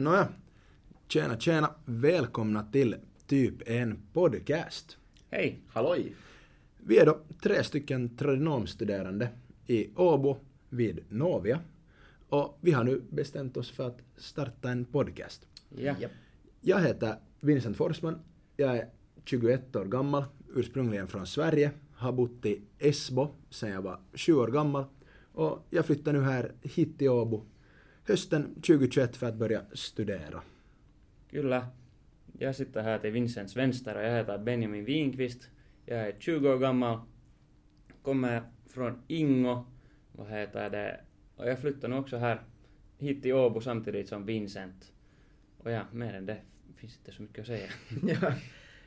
Nåja. Tjena, tjena. Välkomna till Typ en podcast. Hej, halloj! Vi är då tre stycken tradenomstuderande i Åbo vid Novia. Och vi har nu bestämt oss för att starta en podcast. Ja. Jag heter Vincent Forsman. Jag är 21 år gammal, ursprungligen från Sverige. Har bott i Esbo sedan jag var 7 år gammal. Och jag flyttade nu här hit till Åbo hösten 2021 för att börja studera. Kyllä. Jag sitter här till Vincents vänster och jag heter Benjamin Winqvist. Jag är 20 år gammal, kommer från Ingo, vad heter det, och jag flyttar nu också här hit till Åbo samtidigt som Vincent. Och ja, mer än det finns inte så mycket att säga. Ja,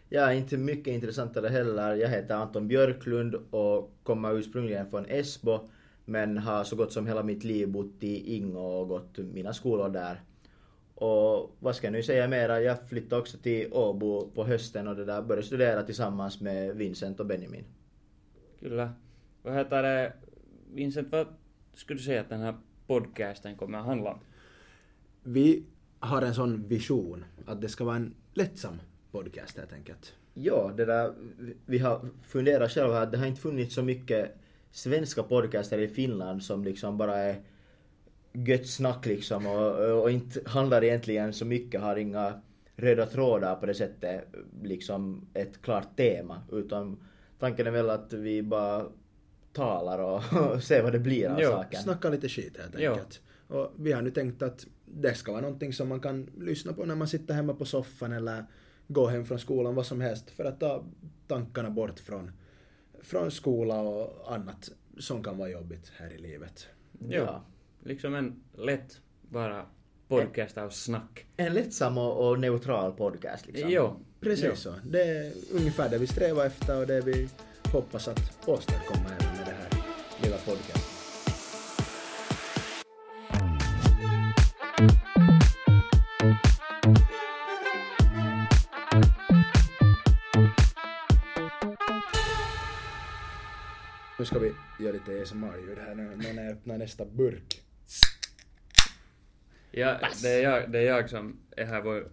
ja, inte mycket intressantare heller. Jag heter Anton Björklund och kommer ursprungligen från Esbo men har så gott som hela mitt liv bott i Ingo och gått mina skolor där. Och vad ska jag nu säga mera? Jag flyttade också till Åbo på hösten och det där började studera tillsammans med Vincent och Benjamin. Kyllä. Vad heter det, Vincent, vad skulle du säga att den här podcasten kommer att handla om? Vi har en sån vision att det ska vara en lättsam podcast helt enkelt. Ja, det där, vi har funderat själva här, det har inte funnits så mycket svenska podcaster i Finland som liksom bara är gött snack liksom och, och inte handlar egentligen så mycket, har inga röda trådar på det sättet, liksom ett klart tema, utan tanken är väl att vi bara talar och, och ser vad det blir av Jo, saken. Snacka lite skit helt Ja. enkelt. Och vi har nu tänkt att det ska vara någonting som man kan lyssna på när man sitter hemma på soffan eller går hem från skolan, vad som helst, för att ta tankarna bort från, från skola och annat som kan vara jobbigt här i livet. Ja. Liksom en lätt, bara podcast av snack. En lättsam och, och neutral podcast liksom. Jo. Precis Jo. så. Det är ungefär det vi strävar efter och det vi hoppas att åstadkomma även med det här lilla podcast. Nu ska vi göra lite ASMR-ljud här nu när jag öppnar nästa burk. Ja, det, är jag, det är jag som är här vår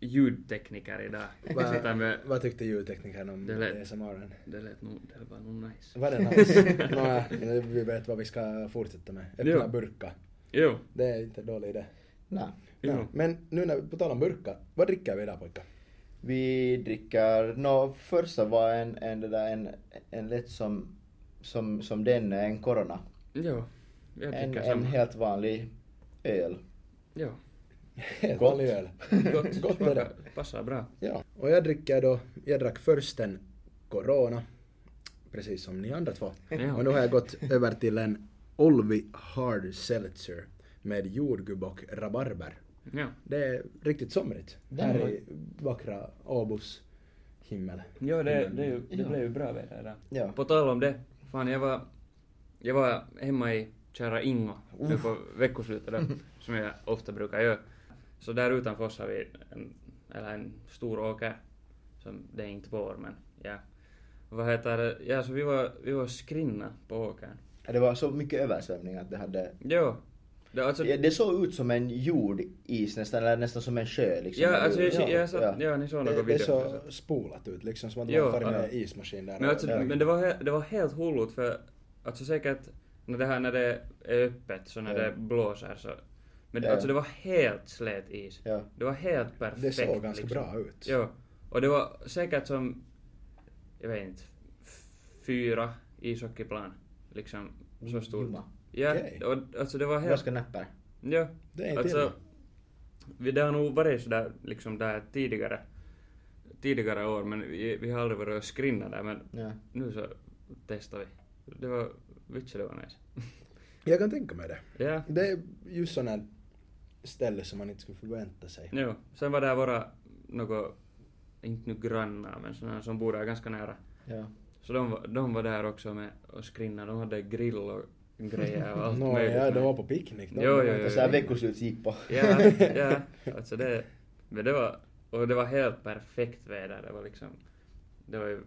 ljudtekniker idag. Jag sitter Vad, med, vad tyckte ljudteknikern om Det lät- ASMR-en? det lät nog, det var nog nice. Var det nice? Nåja, nu vi vet vad vi ska fortsätta med. Öppna Jo. burkar. Jo, Det är inte en dålig idé. Nej. jo. Ja. Men nu när vi på tal om burkar, vad dricker vi idag pojkar? Vi dricker, nå första var en, en, det där, en, en lätt som, som, som den, en Corona. jo. Jag En, tycker en samma. helt vanlig öl. Jo. Helt Gott. vanlig öl. Gott, Gott med det. smakar, passar bra. Ja. Och jag dricker då, jag drack först en Corona, precis som ni andra två. Ja. Och nu har jag gått över till en Olvi Hard Seltzer med jordgubb och rabarber. Jo. Det är riktigt somrigt här i vackra Åbos himmel. Jo, det, det, är ju- det Ja. blev ju bra väder där. Ja. På tal om det, fan jag var, jag var hemma i kära Ingo nu på veckoslutet då, som jag ofta brukar göra. Så där utanför oss har vi en, eller en stor åker, som det är inte vår men ja. Vad heter det? Ja, så vi var, vi var skrinna på åkern. Det var så mycket översvämning att det hade... Jo. Det, alltså, Ja, Det såg ut som en jordis nästan, eller nästan som en sjö liksom. ja, alltså jag, Ja, jag, jag satt, ja. ja, ni såg Det, några det är videor. så spolat ut liksom, som att Jo, man farit med ja. ismaskin där. Men, alltså, Ja. men det, var, he- det var helt hullut för alltså säkert när det här när det är öppet så när Ja. det blåser så. Men det, Ja. alltså det var helt slät is. Ja. Det var helt perfekt. liksom. Det såg ganska bra ut. Ja. Och det var säkert som, jag vet inte, f- fyra ishockeyplan. Liksom så stort. Jumma. Ja, Mm, Okej. och, alltså det var helt... Ganska näpper. Ja. Det är inte illa. alltså, vi, det har nog varit sådär liksom där tidigare, tidigare år men vi, vi har aldrig varit och skrinna där men Ja. nu så testar vi. Det var, vitsen det var nice. Jag kan tänka mig det. ja, Det är just sådana här ställe som man inte skulle förvänta sig. jo. Sen var det våra, något, inte nu grannar men sådana som bor där ganska nära. Ja. Så de, var- de var där också med och skrinna, de hade grill och grejer och allt Nå, möjligt. ja, de med. var på picknick. De Jo, var jo, inte jo, så Så här här jo. veckoslut gick på. Ja, ja. Alltså det, men det var, och det var helt perfekt väder. Det var liksom, det var ju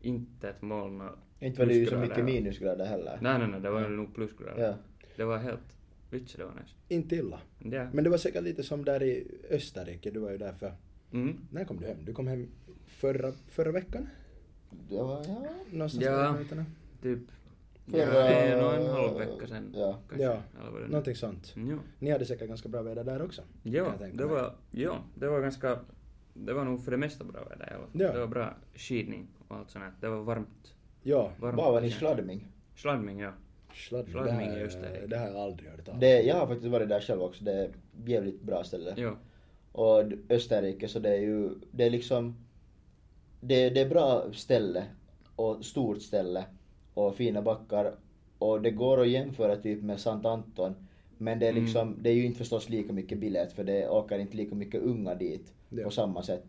inte ett moln och Inte var det ju så plusgrader mycket och- minusgrader heller. Nej, nej, nej, det var ju nog plusgrader. Ja. Det var helt Vitsi, det var nice. Inte illa. Ja. Men det var säkert lite som där i Österrike, du var ju där för... Mm. När kom du hem? Du kom hem förra, förra veckan? Det var, ja. Någonstans Ja. där i nöjterna. Typ. Förra- Ja, en och en halv vecka sen. Ja. Kanske. Ja. Eller vad det nu- Någonting sånt. Mm, Jo. Ni hade säkert ganska bra väder där också. kan Ja, jag tänka det mig. var, ja, det var ganska... Det var nog för det mesta bra väder i alla fall. Ja. Det var bra skidning och allt sånt här. Det var varmt. Ja, varmt Bara var ni Ja. sladdming? Sladdming, ja. Schladming. Det, Schladming i här- Österrike. det här har jag aldrig hört talas Det, jag har faktiskt varit där själv också, det är ett jävligt bra ställe. Jo. Och d- Österrike så det är ju, det är liksom, det, det är bra ställe och stort ställe och fina backar och det går att jämföra typ med Sant Anton men det är Mm. liksom, det är ju inte förstås lika mycket billigt för det åker inte lika mycket unga dit Ja. på samma sätt.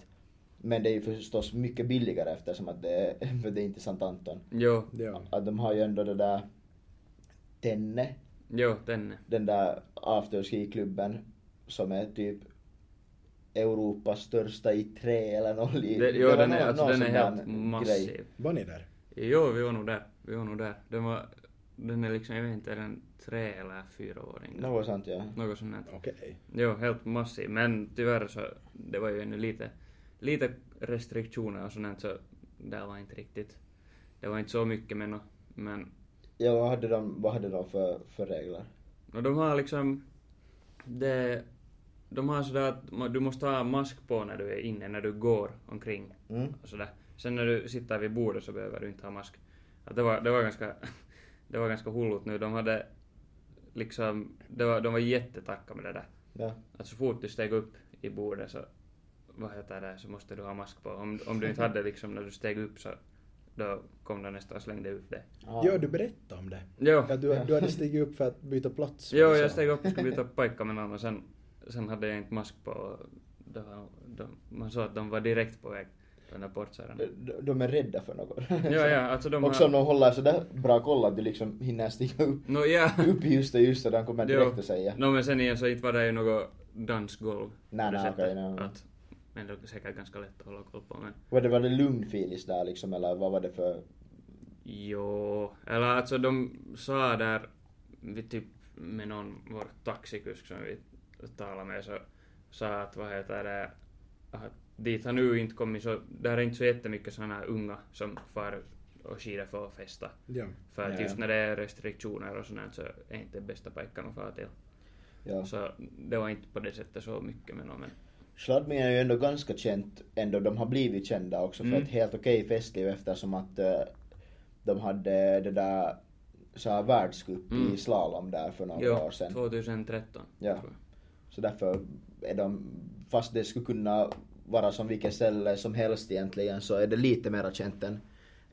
Men det är ju förstås mycket billigare eftersom att det är, för det är inte Sant Anton. Jo. Ja. Att de har ju ändå det där Tenne Jo, den. den där afterski-klubben som är typ Europas största i trä eller någon Det, liknande. jo, den är, alltså, den är helt massiv. Var ni där? Jo, vi var nog där. Vi var nog där. Den var... Den är liksom, jag vet inte, är den tre eller fyraåring? Något sånt ja. Något sånt här. Okej. Jo, helt massiv. Men tyvärr så, det var ju ännu lite, lite restriktioner och sånt här, så det var inte riktigt, det var inte så mycket men, men ja vad, hade de, vad hade de för, för regler? no, de har liksom, det, de har sådär att ma- du måste ha mask på när du är inne, när du går omkring Mm. och sådär. Sen när du sitter vid bordet så behöver du inte ha mask. Att det, var, det var ganska, det var ganska hullut nu. De hade liksom, det var, de var jättetacka med det där. Ja. att Alltså, så fort du steg upp i bordet så, vad heter det, så måste du ha mask på. Om, om du inte hade liksom när du steg upp så då kom de nästan och slängde ut det. Ah. Ja, du berättade om det. Jo, Ja, du, du hade stigit upp för att byta plats. jo jag steg upp och skulle byta pojkar med någon och sen, sen hade jag inte mask på och det var, de, man såg att de var direkt på väg, de där portsarna. De, de är rädda för något. Ja, ja, alltså de Också om har... de håller sådär bra koll att du liksom hinner stiga upp, No, ja. upp i just det just så de kommer Jo. direkt att säga. No, men sen igen så inte var det ju något dansgolv. på Nej, det nej, sättet. okej, nej, nej. Att- Men det är säkert ganska lätt att hålla koll på men Var det, var det lugn filis där liksom eller vad var det för... Joo, eller alltså de sa där vid typ med någon vår taxikusk som vi talade med så sa att vad heter det att dit har nu inte kommit så där är inte så jättemycket sådana unga som far och skidor för att festa. Ja. För att Ja, just ja. när det är restriktioner och sånt här så är inte bästa pojkarna att fara till. Ja. Så det var inte på det sättet så mycket med någon men Schladming är ju ändå ganska känt, ändå de har blivit kända också för Mm. ett helt okej festliv eftersom att eh, de hade det där så här världscup Mm. i slalom där för några jo, år sedan. 2013 Ja. tror jag. Så därför är de, fast det skulle kunna vara som vilket ställe som helst egentligen så är det lite mer känt än,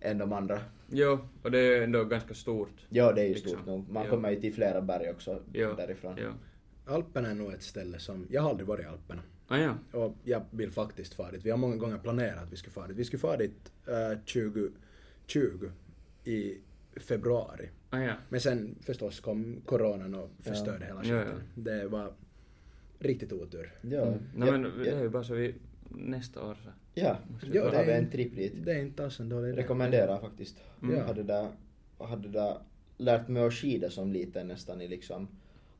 än de andra. Jo, och det är ju ändå ganska stort. Ja det är ju Liksom. stort nog. Man Ja. kommer ju till flera berg också Jo, därifrån. Jo. Alperna är nog ett ställe som... Jag har aldrig varit i Alperna. Ah, ja. Och jag vill faktiskt fara dit. Vi har många gånger planerat att vi skulle fara dit. Vi skulle fara dit eh, 2020 i februari. Ah, ja. Men sen förstås kom coronan och förstörde hela Ja, skiten. Det var riktigt otur. Ja, No, ja, Mm. men det ja, är ju bara så vi nästa år så. ja. Måste vi Ja, ja, kolla. då det har vi är- en tripp dit. Det är inte alls en dålig idé. rekommenderar faktiskt. Mm. Jag hade där, hade där lärt mig att skida som liten nästan i liksom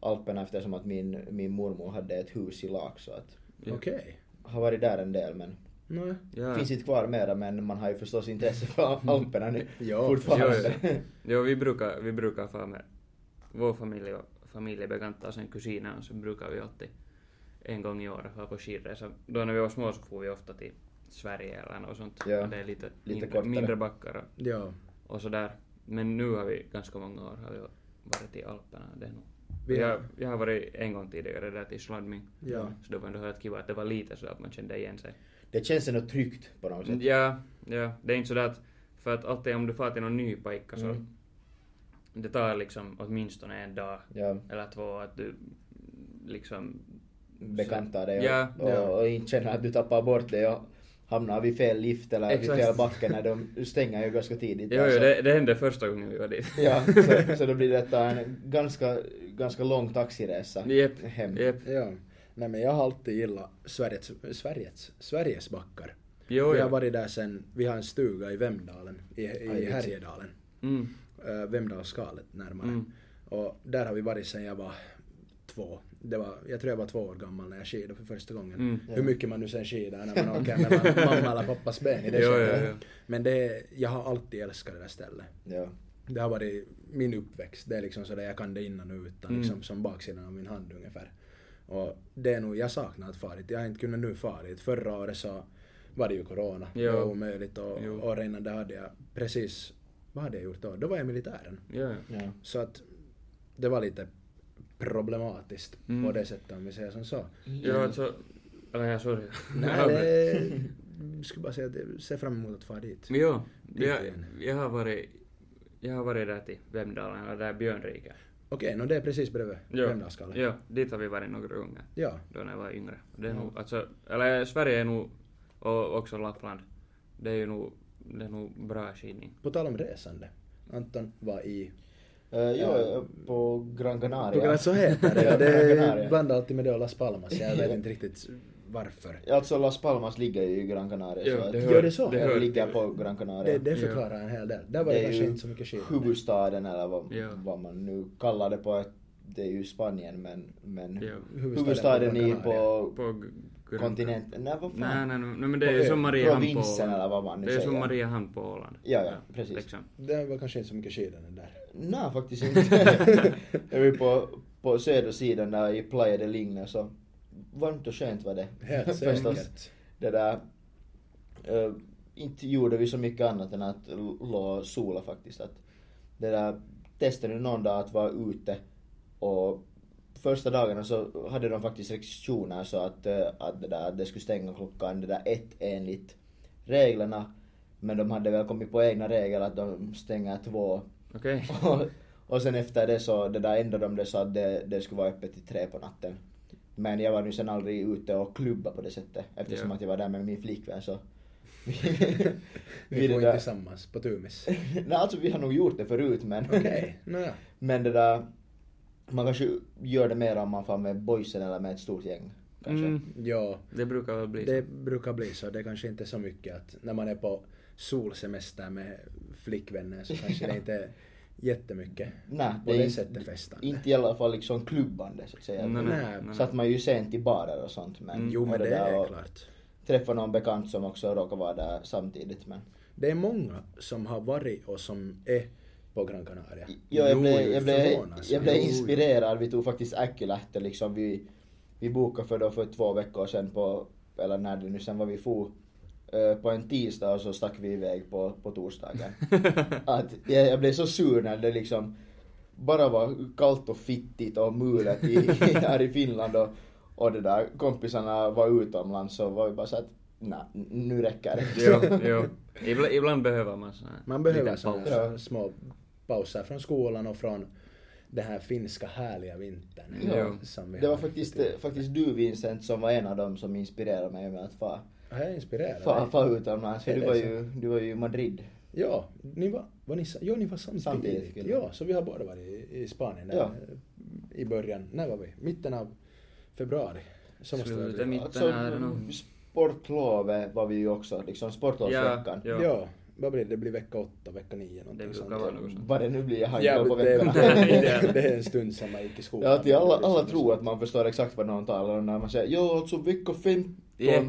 Alperna eftersom att min, min mormor hade ett hus i Laak så att Ja. Okej. har varit där en del men Nej. Ja. finns inte kvar mera men man har ju förstås intresse för Alperna nu Ja, fortfarande. precis. Jo, vi brukar, vi brukar fara med vår familj och familjebekanta och sen kusiner och så brukar vi alltid en gång i år fara på skidresa. Då när vi var små så for vi ofta till Sverige eller något sånt. Ja, Och Det är lite, mindre, kortare. mindre backar och, Ja. och sådär. Men nu har vi ganska många år har vi varit i Alperna. Det är nog. Vi- Jag, jag har varit en gång tidigare där till Schladming. Ja. Så det var ändå helt kiva att det var lite så att man kände igen sig. Det känns ändå tryggt på något sätt. Ja, ja. Det är inte sådär att, för att alltid om du far till någon ny paikka så Mm. det tar liksom åtminstone en dag Ja, eller två att du liksom... bekantar dig och, Ja, Mm. ja. och, och inte känner att du tappar bort dig och hamnar vid fel lift eller Exakt. vid fel backe när de stänger ju ganska tidigt. Jo, där, jo, så- det, det hände första gången vi var dit. Ja, så, så då blir detta en ganska, ganska lång taxiresa Jep, hem. jep. Ja. Nej men jag har alltid gillat Sveriges, Sveriges, Sveriges backar. Jo, vi har jo. varit där sen, vi har en stuga i Vemdalen, i, Aj, i just. Härjedalen. Mm. Äh, Vemdalsskalet närmare. Mm. Och där har vi varit sen jag var två. Det var, jag tror jag var två år gammal när jag skidade för första gången. Mm. Hur mycket man nu sen skidar när man åker med man- mamma eller pappas ben i det Jo, jo, skedet. jo. Men det, jag har alltid älskat det där stället. Ja. Det har varit min uppväxt. Det är liksom sådär jag kan det innan och utan. Mm. Liksom som baksidan av min hand ungefär. Och det är nog, jag saknar att farit. Jag har inte kunnat nu farit. Förra året så var det ju corona. Jo. Det var omöjligt och Jo. året innan det hade jag precis, vad hade jag gjort då? Då var jag i militären. Ja, ja. Ja. Så att det var lite problematiskt Mm. på det sättet om vi säger som så. Ja, alltså... Eller ja, sorry. Nej, det, jag skulle bara säga att jag ser fram emot att fara dit. Men jo, Dit jag, igen. jag har varit... Jag har varit där till Vemdalen, eller där Björnrike. Okej, nå det är precis bredvid Jo. Vemdalsskallen. Jo, dit har vi varit några gånger. Ja. Då när jag var yngre. Det Mm. är nog, alltså, eller Sverige är nog, och också Lappland, det är ju nog, det är nog bra skidning. På tal om resande. Anton var i... Eh, jag är på Gran Canaria. På Gran- så heter det. Ja, Det Gran är Canaria. bland alltid med det och Las Palmas. Jag vet inte riktigt varför. Alltså Las Palmas ligger ju i Gran Canaria. Ja, så att det hör- Gör det så? Det det hör- ligger på Gran Canaria. Det, det förklarar en hel del. Där var det, är kanske ju inte så mycket skidor. huvudstaden eller vad, Ja. vad man nu kallar det på. ett- Det är ju Spanien men, men Ja. huvudstaden är Huvudstaden på på, På Gran- kontinenten. Nej, vad fan? Nej, nej, nej, nej, men det är På ju som ön. Mariehamn på Provinsen eller vad man nu Det är som säger. Mariehamn på Åland. Ja, ja, precis. Liksom. Det var kanske inte så mycket skidor den där. Nej, faktiskt inte. jag är på, på södersidan där i Playa del Ingne så varmt och skönt var det. Helt säkert. Det där, eh, inte gjorde vi så mycket annat än att l- lå sola faktiskt. Att det där, testade någon dag att vara ute och första dagarna så hade de faktiskt restriktioner så att, eh, att det, där, det skulle stänga klockan det där ett enligt reglerna. Men de hade väl kommit på egna regler att de stänger två Okej. och, och sen efter det så det där ändrade de det så att det, det skulle vara öppet till tre på natten. Men jag var nu sen aldrig ute och klubba på det sättet eftersom Ja. att jag var där med min flickvän så. Vi, Vi det får där- inte tillsammans på Tumis. Nej alltså vi har nog gjort det förut men. Okej, nåja. Men det där. Man kanske gör det mer om man far med boysen eller med ett stort gäng. Kanske. Mm, Ja, det brukar väl bli det brukar bli så. Det är kanske inte så mycket att när man är på solsemester med flickvänner så kanske det inte är jättemycket Nej, på det det, är inte- sättet festande. Inte i alla fall liksom klubbande så att säga. Nej, nej. Mm. Så att man är ju sent i barer och sånt men. Jo, men och det, där är och klart. Träffa någon bekant som också råkar vara där samtidigt men. Det är många som har varit och som är på Gran Canaria. Jo, jag Jo, blev, jag blev, förvånas. jag blev Jo, jo. inspirerad. Vi tog faktiskt Äkkylähte liksom. Vi, vi bokade för då för två veckor sedan på, eller när det nu sen var vi for, eh, på en tisdag och så stack vi iväg på, på torsdagen. Att jag, jag blev så sur när det liksom bara var kallt och fittigt och mulet i, här i Finland och, och det där kompisarna var utomlands så var vi bara så att nej, nu räcker det. Jo, jo. Ibland, ibland behöver man sån här Man behöver liten såna paus. här små pauser från skolan och från den här finska härliga vintern. Ja. som vi Det var har. faktiskt, eh, faktiskt du Vincent som var en av dem som inspirerade mig med att fara Har jag inspirerat Far, dig? far utomlands, för Är du det var, så? ju, du var ju i Madrid. Ja, ni var, var ni, sa- ja, ni var samtidigt. Samtidigt, kyllä. ja, så vi har båda varit i, i Spanien där, Ja. i början. När var vi? Mitten av februari. Så måste det Slutet, bli. mitten, Alltså, är det nog. sportlovet var vi ju också, liksom sportlovsveckan. Ja. Ja, vad blir det? Det blir vecka åtta, vecka nio Det någonting brukar vara något sånt. Vad det nu blir, jag har inte koll Jävligt, på det, veckorna. är- det är en stund sedan man gick i skolan. liksom Ja, att alla, alla tror att man förstår exakt vad någon talar om när man säger jo, alltså vecka 15. Jep.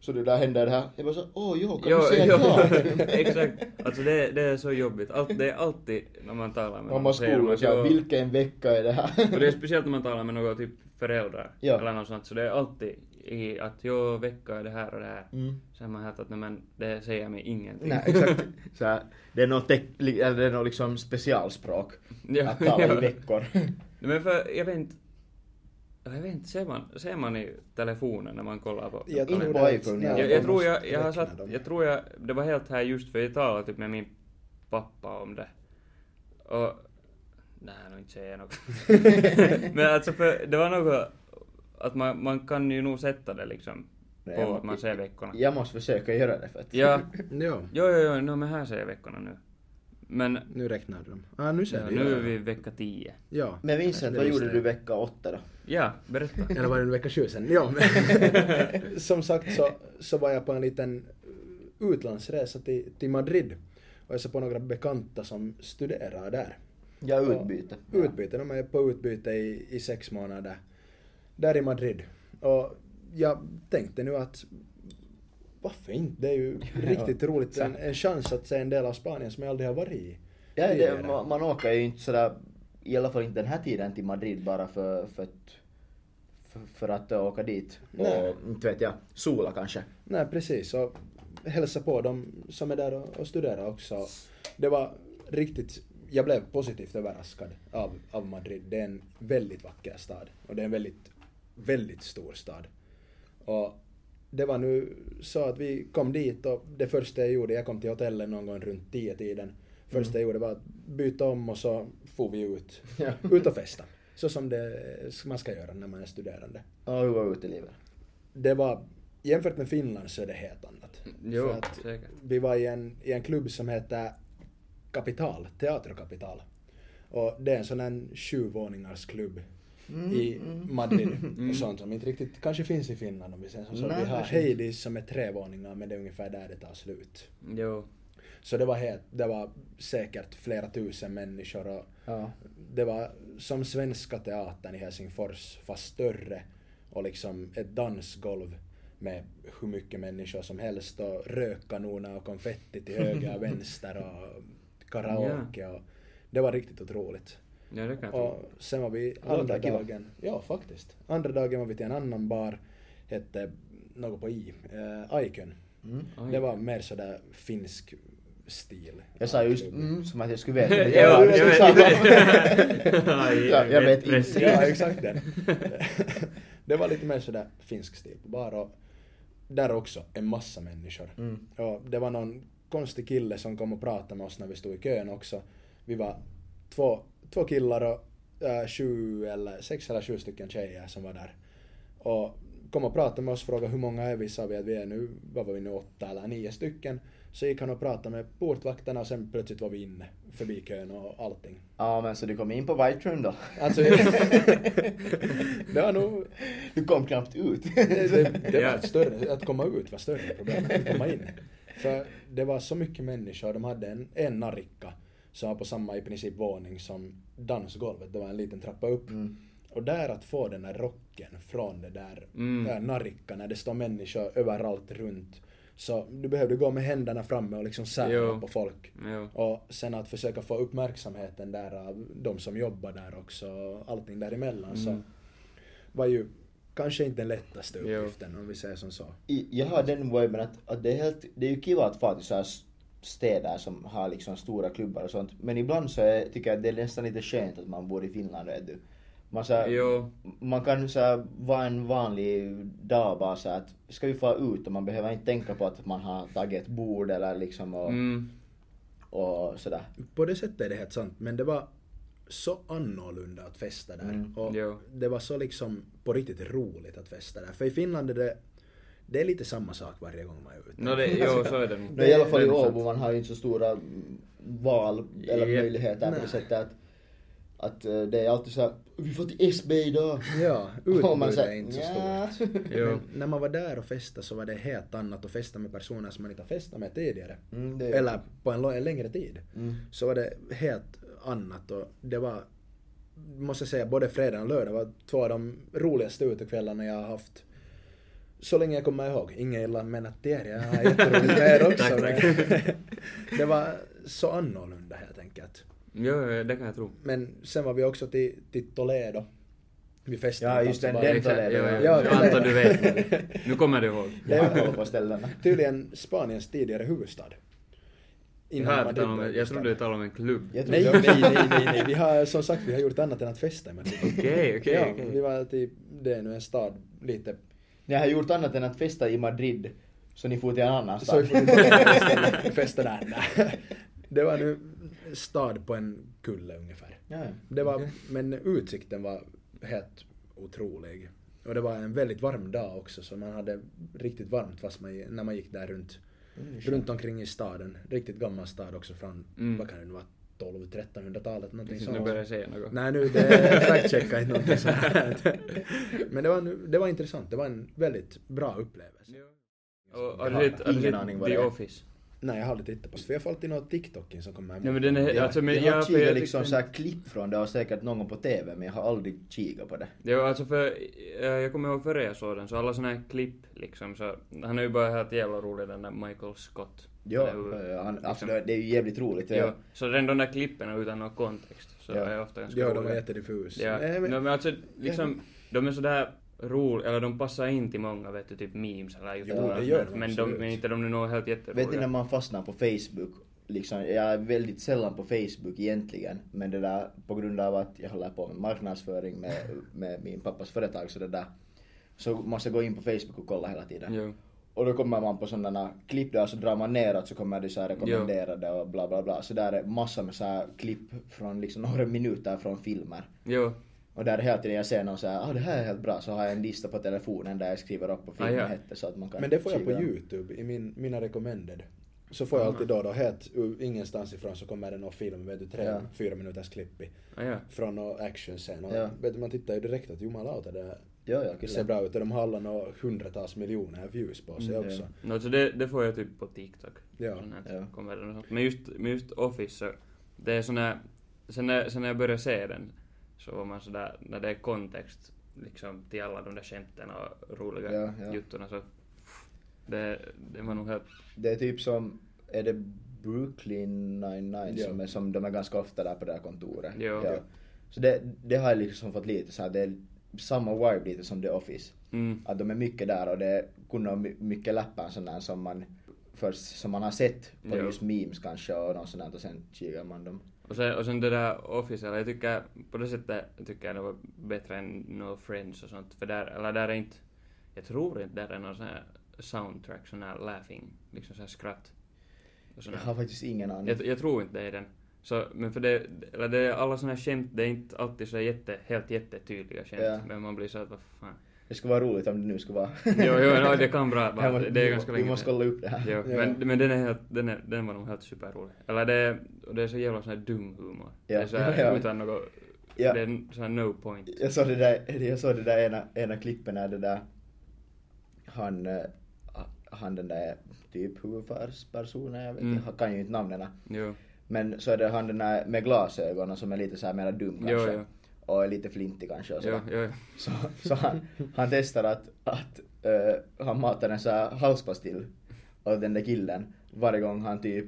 Så det där händer det här. Jag bara så, åh jo, kan Jo, du säga jo, ja? exakt. Alltså det, det är så jobbigt. Allt, det är alltid när man talar med Man måste säger de skola att så här, "Joo." vilken vecka är det här? Och det är speciellt när man talar med några typ föräldrar Ja. eller något sånt, så det är alltid i att jo, vecka är det här och det här. Mm. Så har man hört att nej men det säger mig ingenting. Nej, exakt. Så här, det är något, teck- li- eller det är något liksom specialspråk. Ja, Att tala i ja. veckor. Nej, men för jag vet inte, jag vet inte, ser man, ser man i telefonen när man kollar på? Jag Inte tror, på det- iPhone, nej, ja. jag, man jag tror måste jag, jag har räkna satt, dem. jag tror jag, det var helt här just för jag talade typ med min pappa om det. Och, nej, nu inte säger jag något. Men alltså för, det var något, att man, man kan ju nog sätta det liksom, Nej, på jag- att man ser veckorna. Jag måste försöka göra det för att... Ja, Ja, jo, jo, jo, no, men här ser jag veckorna nu. Men, nu räknar de. Ah, nu ser ja, du. nu är vi vecka 10. Ja. Men Vincent, Det vad visste gjorde jag. du vecka åtta då? Ja, berätta. Eller var det en vecka sju sen? Ja, men som sagt så, så var jag på en liten eh, utlandsresa till, till Madrid och jag såg på några bekanta som studerar där. Jag utbyte. Utbyte, de är på utbyte i, i sex månader där i Madrid. Och jag tänkte nu att varför inte? Det är ju riktigt roligt. En, en chans att se en del av Spanien som jag aldrig har varit i. Ja, det, tidigare. man, man åker ju inte sådär, i alla fall inte den här tiden till Madrid bara för, för, att, för, för att åka dit. Nej. Och inte vet jag, sola kanske. Nej, precis. Och hälsa på dem som är där och, och studerar också. Det var riktigt... Jag blev positivt överraskad av, av Madrid. Det är en väldigt vacker stad. Och det är en väldigt, väldigt stor stad. Och det var nu så att vi kom dit och det första jag gjorde, jag kom till hotellet någon gång runt tio tiden. Första jag gjorde var att byta om och så for vi ut. Ja. Ut och festa. Så som det, man ska göra när man är studerande Ja, hur var utelivet? det var, jämfört med Finland så är det helt annat. Mm, Jo, För att säkert. vi var i en, i en klubb som heter Kapital, Teaterkapital. Och det är en sån här sjuvåningars klubb i Madrid. Mm. Sånt som inte riktigt kanske finns i Finland om vi säger som så. Nej, Vi har kanske inte. Heidis som är tre våningar men det är ungefär där det tar slut. Jo. Så det var, helt, det var säkert flera tusen människor och Ja. det var som svenska teatern i Helsingfors fast större och liksom ett dansgolv med hur mycket människor som helst och rökkanoner och konfetti till höger och vänster och karaoke och det var riktigt otroligt. Ja, det kan jag Och tro. sen var vi låter andra kiva. dagen, ja faktiskt, andra dagen var vi till en annan bar, hette något på i, eh, Aikön. Mm. Oj. Det var mer sådär finsk stil. Jag sa just mm, som att jag skulle veta. Ja, jag men jag, vet sa bara- inte. Aj, Ja, jag vet precis. inte. Ja, exakt den. Det var lite mer sådär finsk stil på bar och där också en massa människor. Mm. Och det var någon konstig kille som kom och pratade med oss när vi stod i kön också. Vi var två, två killar och äh, sju eller sex eller sju stycken tjejer som var där. Och kom och pratade med oss och frågade hur många är vi? Sa vi att vi är nu, vad var vi nu, åtta eller nio stycken. Så gick han och pratade med portvakterna och sen plötsligt var vi inne förbi kön och allting. Ja, men så du kom in på White Room då? Alltså, det var nog Du kom knappt ut. det, det, det var Ja. ett större, att komma ut var större problem än att komma in. För det var så mycket människor, de hade en, en narikka som var på samma i princip våning som dansgolvet, det var en liten trappa upp. Mm. Och där att få den där rocken från det där Mm. mm. narikka när det står människor överallt runt. Så du behövde gå med händerna framme och liksom sära Jo. på folk. Jo. Och sen att försöka få uppmärksamheten där av de som jobbar där också och allting däremellan så var ju kanske inte den lättaste Jo. uppgiften om vi säger som så. I- Jag har den viben att, att det, är helt, det är ju kiva att fara till så här s- städer som har liksom stora klubbar och sånt. Men ibland så är, tycker jag att det är nästan lite skönt att man bor i Finland vet du. Man, så här, Jo. man kan så här, vara en vanlig dag bara så här, att ska vi fara ut och man behöver inte tänka på att man har tagit ett bord eller liksom och, Mm. och sådär. På det sättet är det helt sant men det var så annorlunda att festa där. Mm. Och Jo. det var så liksom på riktigt roligt att festa där. För i Finland är det, det är lite samma sak varje gång man är ute. No, det, jo, så är det nog. No, I alla fall i Det är sant. Åbo, man har ju inte så stora mm, val eller Japp. möjligheter på Nej. det sättet att, att eh, det är alltid så här, vi får till SB idag. Ja, Och man utbudet säger, är inte så "Nja." stort. Jo. Men när man var där och festade så var det helt annat att festa med personer som man inte har festat med tidigare. Mm, det är- Eller på en, lo- en längre tid. Mm. Så var det helt annat och det var, måste jag säga, både fredag och lördag var två av de roligaste utekvällarna jag har haft. Så länge jag kommer ihåg. Inget illa menat till er, jag har jätteroligt med er också. Tack, tack. men det var så annorlunda helt enkelt. Jo, jo, det kan jag tro. Men sen var vi också till, till Toledo. Vi festade Ja, i just den- Tatabára. den Toledo, Jo, jo. ja. Jag antar du vet. Nu kommer du ihåg. Jag har koll på ställena. Tydligen Spaniens tidigare huvudstad. Jag, här, Madrid talar om, blev jag trodde du huvudstad. talade om en klubb. Jag Nej, trodde- nej, nej, nej, nej. Vi har som sagt vi har gjort annat än att festa i Madrid. Okej, ja, okej, Vi okej. var till, det är nu en stad lite... Ni har gjort annat än att festa i Madrid, så ni får till en annan Så vi stad. får inte festa- festa där. Nej. Det var nu en stad på en kulle ungefär. Ja, ja. Det var, men utsikten var helt otrolig. Och det var en väldigt varm dag också så man hade riktigt varmt fast man, när man gick där runt, runt omkring i staden. Riktigt gammal stad också från, Mm. vad kan det nu vara, 12-1300-talet någonting Precis, nu sånt. börjar jag säga något. Nej nu, det fact-checka inte någonting sånt här. Men det var, nu- det var intressant, det var en väldigt bra upplevelse. Och Jag har har du sett- har du ingen aning sett vad The det är. Office? Nej, jag har aldrig tittat på Svea fall till något TikTokin som kommer Nej men den är, Jag, alltså, men, jag har för jag kikat liksom tyckte- så här klipp från det och säkert någon gång på TV men jag har aldrig kikat på det. Jo, alltså för, eh, jag kommer ihåg före jag såg den, så alla såna här klipp liksom, så han är ju bara helt jävla rolig den där Michael Scott. Ja, Eller hur? eh, han, alltså liksom. det det är ju jävligt roligt. Jo, Ja. så den, de där klippen är utan någon kontext, så Ja. är ofta ganska Ja, de roliga. var jättediffus. Ja. Nej, men, men- no, men alltså, liksom, de är sådär roliga, eller de passar in till många vet du, typ memes eller det eller gör sånt, de men de absolut. men inte de är nog helt jätteroliga. Vet ni när man fastnar på Facebook? Liksom, jag är väldigt sällan på Facebook egentligen. Men det där på grund av att jag håller på med marknadsföring med, med min pappas företag så det där. Så måste jag gå in på Facebook och kolla hela tiden. Jo. Och då kommer man på sådana klipp där så drar man neråt så kommer det så här rekommenderade och bla bla bla. Så där är massor med så här klipp från liksom några minuter från filmer. Jo. Och där hela tiden jag ser någon så här, ah det här är helt bra, så har jag en lista på telefonen där jag skriver upp på filmen Ah, ja. hette så att man kan Men det får jag på kika. YouTube, i min, mina recommended. Så får jag alltid då och då helt ur ingenstans ifrån så kommer det någon film, vet du, tre, Ja. fyra minuters klipp i. Ah, ja. Från någon actionscen. Och Ja. vet du, man tittar ju direkt att jumalauta det här Ja, ja, ser kyllä. bra ut och de har alla några hundratals miljoner views på sig Mm, ja. också. No, så det, det får jag typ på TikTok. Ja. Sån här Ja. kommer det och sånt. Men just, men just Office så, det är sån här, sen när, sen när jag började se den så var man sådär, när det är kontext liksom till alla de där skämten och roliga Ja, ja. juttorna så det, det var nog helt, Det är typ som, är det Brooklyn 99 Ja. som, är, som de är ganska ofta där på det här kontoret? Jo. Ja. Så det, det har jag liksom fått lite så här, det är samma vibe lite som The Office. mm, Att de är mycket där och det kunde ha my- mycket läppar sån där som man först, som man har sett på Jo. just memes kanske och något sånt där och sen kikar man dem. Och sen, och sen det där Office, eller jag tycker på det sättet tycker jag det var bättre än No Friends och sånt. För där, eller där är inte, jag tror inte där är någon sån här soundtrack, sån här laughing, liksom sån här skratt. Och sån Jag här. har faktiskt ingen aning. Jag, jag tror inte det är den. Så, men för det, eller det är alla såna här skämt, det är inte alltid så jätte, helt jättetydliga skämt. Ja. Men man blir så att vad fan. Det skulle vara roligt om det nu skulle vara... Jo, jo, no, det kan bra Här vara. måste- Det är vi- ganska Vi länge måste sedan. kolla upp det här. Jo, Ja. men, men den, är helt, den, är, den var nog helt superrolig. Eller det, är- och det är så jävla sån här dum humor. Ja. Det är så här, Ja. utan något, Ja. det är en sån här no point. Jag såg det där, jag såg det där ena, ena klippen när det där... Han, eh, han den där typ huvudpersonen, jag vet inte, Mm. han kan ju inte namnen. Jo, Men så är det han den där med glasögonen som är lite så här mera dum Jo, kanske. jo. Och är lite flintig kanske och jo, sådär. jo. Så, så han, han testar att, att eh, han matar en så här halspastill åt den där killen varje gång han typ,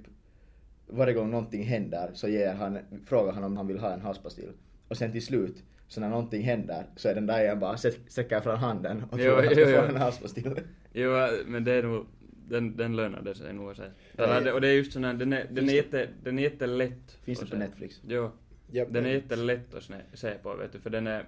varje gång någonting händer så ger han, frågar han om han vill ha en halspastill. Och sen till slut, så när någonting händer så är den där igen bara sträck- sträcker fram handen och Jo, tror att han ska jo, få jo. en halspastill. Jo, men det är nog, den, den lönade sig nog. Så. här. Ja, Eller, ja. det- Och det är just sån här, den är, den Finns är, det- jätte, den är jättelätt. Finns det och på så- Netflix? Jo. Japp. Den är jättelätt att sne- se på, vet du, för den är,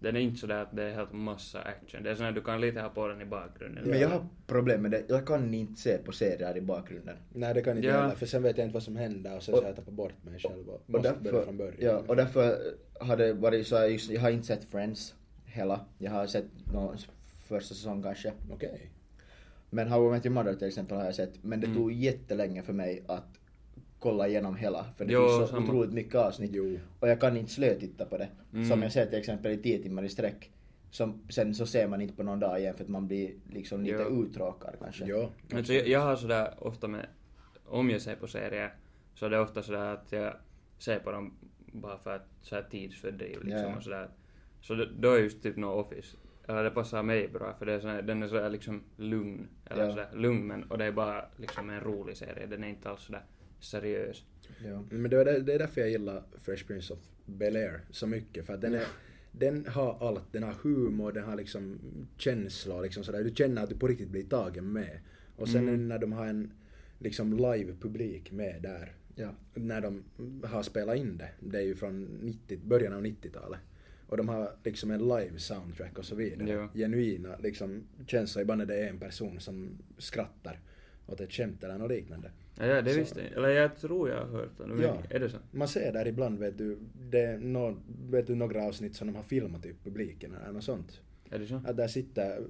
den är inte sådär att det är helt massa action. Det är sån här, du kan lite ha på den i bakgrunden. Men jag har problem med det, jag kan inte se på serier i bakgrunden. Nej, det kan inte Ja. heller, för sen vet jag inte vad som händer och sen så har jag tappat bort mig själv och måste börja från början. liksom. Ja, och därför har det varit så här, just, jag har inte sett Friends hela. Jag har sett någon första säsong kanske. Okej. Men How I Met Your Mother till exempel har jag sett. Men det Mm. tog jättelänge för mig att kolla igenom hela. För det Jo, finns så samma. otroligt mycket avsnitt. Jo. Och jag kan inte slötitta på det. Som Mm. jag ser till exempel i 10 timmar i sträck. Som, sen så ser man inte på någon dag igen för att man blir liksom lite Jo. uttråkad kanske. Ja. Men så jag, jag har sådär ofta med, om jag ser på serier, så är det ofta sådär att jag ser på dem bara för att så här tidsfördriv liksom Ja, ja. och sådär. Så då- då är just typ någon Office, eller det passar mig bra för det är sådär, den är sådär liksom lugn, eller Ja. sådär lugn men, och det är bara liksom en rolig serie, den är inte alls sådär seriös. Ja. Mm, Men det är, där- det är därför jag gillar Fresh Prince of Bel-Air så mycket. För att den, är, Mm. den har allt. Den har humor, den har liksom känsla och liksom sådär. Du känner att du på riktigt blir tagen med. Och sen Mm. när de har en liksom live-publik med där. Ja. När de har spelat in det. Det är ju från 90, början av 90-talet. Och de har liksom en live-soundtrack och så vidare. Ja. Genuina liksom känslor. Ibland är det en person som skrattar åt ett skämt eller något liknande. Ja, ja det Så- visste jag. Eller jag tror jag har hört det. nu. Ja. Är det så? Man ser där ibland, vet du, det är nå- vet du några avsnitt som de har filmat typ publiken eller något sånt. Är det så? Att där sitter,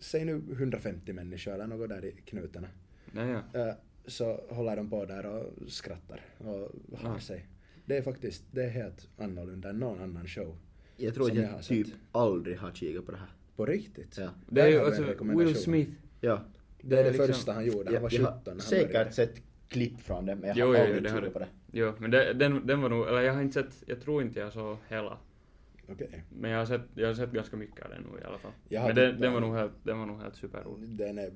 säg nu 150 människor eller något där i knutarna. Nej, ja. Eh, Så håller de på där och skrattar och har Ja. sig. Det är faktiskt, det är helt annorlunda än någon annan show. Jag tror Som att jag har jag typ sett. aldrig har kikat på det här. På riktigt. Ja. Det är Där ju har vi en alltså rekommendation. Will Smith. Ja. Det är det liksom- första han gjorde, han var Jag- jag 17 har när han säkert började. sett klipp från det, men jag Jo, har jo, aldrig det har tittat på du. det. Jo, men det, den, den var nog, eller jag har inte sett, jag tror inte jag såg hela. Okej. Men jag har sett, jag har sett ganska mycket av den nu i alla fall. Jag har Men den, tittat- den var nog helt, den var nog helt superrolig. Den är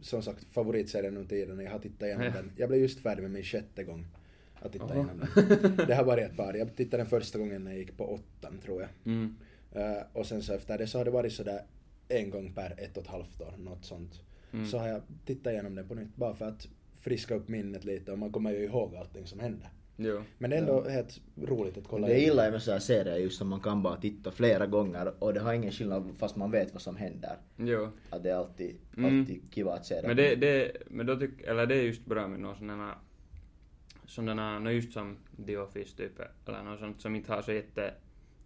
som sagt favoritserien under tiden. Jag har tittat igenom Ja. den. Jag blev just färdig med min sjätte gång att titta Oho. igenom den. Det har varit ett par. Jag tittade den första gången när jag gick på åttan tror jag. Mm. Eh, och sen så efter det så har det varit sådär en gång per ett och ett halvt år, något sånt. Mm. Så har jag tittat igenom den på nytt bara för att friska upp minnet lite och man kommer ju ihåg allting som hände. Jo. Men det är ändå helt roligt att kolla Det igenom. gillar jag med sådana här serier just som man kan bara titta flera gånger och det har ingen skillnad fast man vet vad som händer. Jo. Att det är alltid, Mm. alltid kiva att se det. Men det, det, men då tyck, eller det är just bra med några sådana, sådana, nå no just som The Office typ, eller något sånt som inte har så jätte,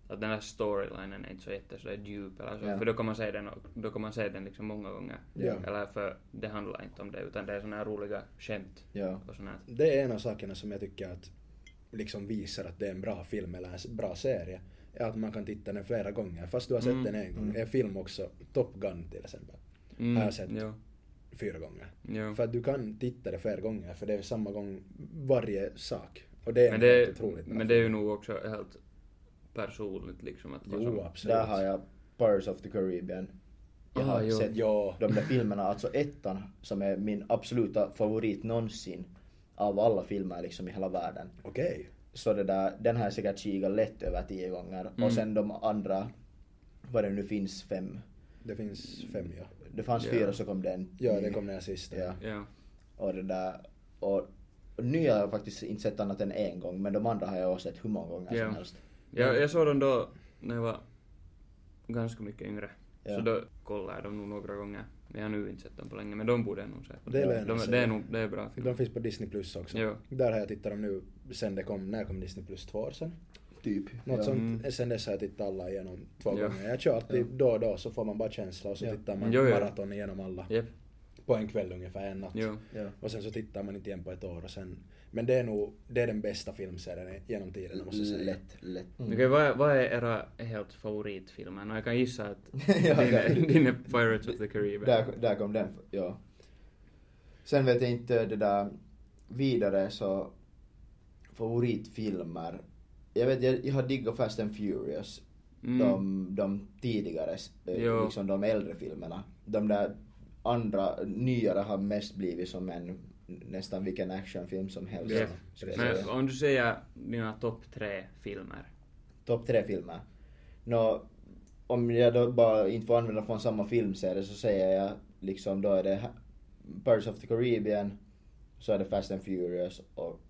att den här storylinen är inte så jätte sådär djup eller så, Ja. för då kan man se den, och- då kan man se den liksom många gånger. Ja. Eller för det handlar inte om det, utan det är sådana här roliga skämt Ja. och sånt här. Det är en av sakerna som jag tycker att liksom visar att det är en bra film eller en s- bra serie. Är att man kan titta den flera gånger. Fast du har sett Mm. den en gång. Mm. En film också, Top Gun till exempel, Mm, Har jag sett. Jo, fyra gånger. jo. För att du kan titta det flera gånger för det är samma gång varje sak. Och det är Men en det, helt otroligt bra men det är ju film. nog också helt personligt liksom att vad Jo, som- absolut. Där har jag Pirates of the Caribbean. Jag har Ah, jo. sett Ja. de där filmerna, alltså ettan som är min absoluta favorit någonsin av alla filmer liksom i hela världen. Okej. Så det där, den har jag säkert kikat lätt över tio gånger. Mm. Och sen de andra, vad det nu finns, fem. Det finns fem ja. Det fanns Ja. fyra så kom det en Ja, ny. det kom den här sista. Ja. Ja. Och det där, och nya har jag faktiskt inte sett annat än en gång, men de andra har jag sett hur många gånger Ja. som helst. Jag, Mm. jag såg dem då när jag var ganska mycket yngre. Ja. Så då kollade jag dem nog några gånger. Men jag har nu inte sett dem på länge, men de borde jag nog se. Det lär jag nog de, se. det är nog det är bra De film. finns på Disney Plus också. Jo. Där har jag tittat dem nu sen det kom, när kom Disney Plus? Två år sedan? Typ. Något ja. sånt. Mm. Sen dess har jag tittat alla igenom två Ja. gånger. Jag kör alltid Ja. då och då så får man bara känsla och så Ja. tittar man Jo, jo. maraton igenom alla. Jep, På en kväll ungefär, en natt. jo. Ja. Och sen så tittar man inte igen på ett år och sen... Men det är nog, det är den bästa filmserien genom tiderna måste jag säga. Lätt, lätt. Mm. Okej, vad, vad är era helt favoritfilmer? No, jag kan gissa att Ja, din, är, där- din är Pirates of the Caribbean. Där, där kom den, ja. Sen vet jag inte det där vidare så favoritfilmer. Jag vet, jag, jag har diggat Fast and Furious. Mm. De, de tidigare, eh, Jo. liksom de äldre filmerna. De där andra, nyare har mest blivit som en nästan vilken actionfilm som helst. Jep. skulle jag säga. Men om du säger dina topp tre filmer. topp tre filmer. Nå, om jag då bara inte får använda från samma filmserie så säger jag liksom då är det ha- Pirates of the Caribbean, så är det Fast and Furious och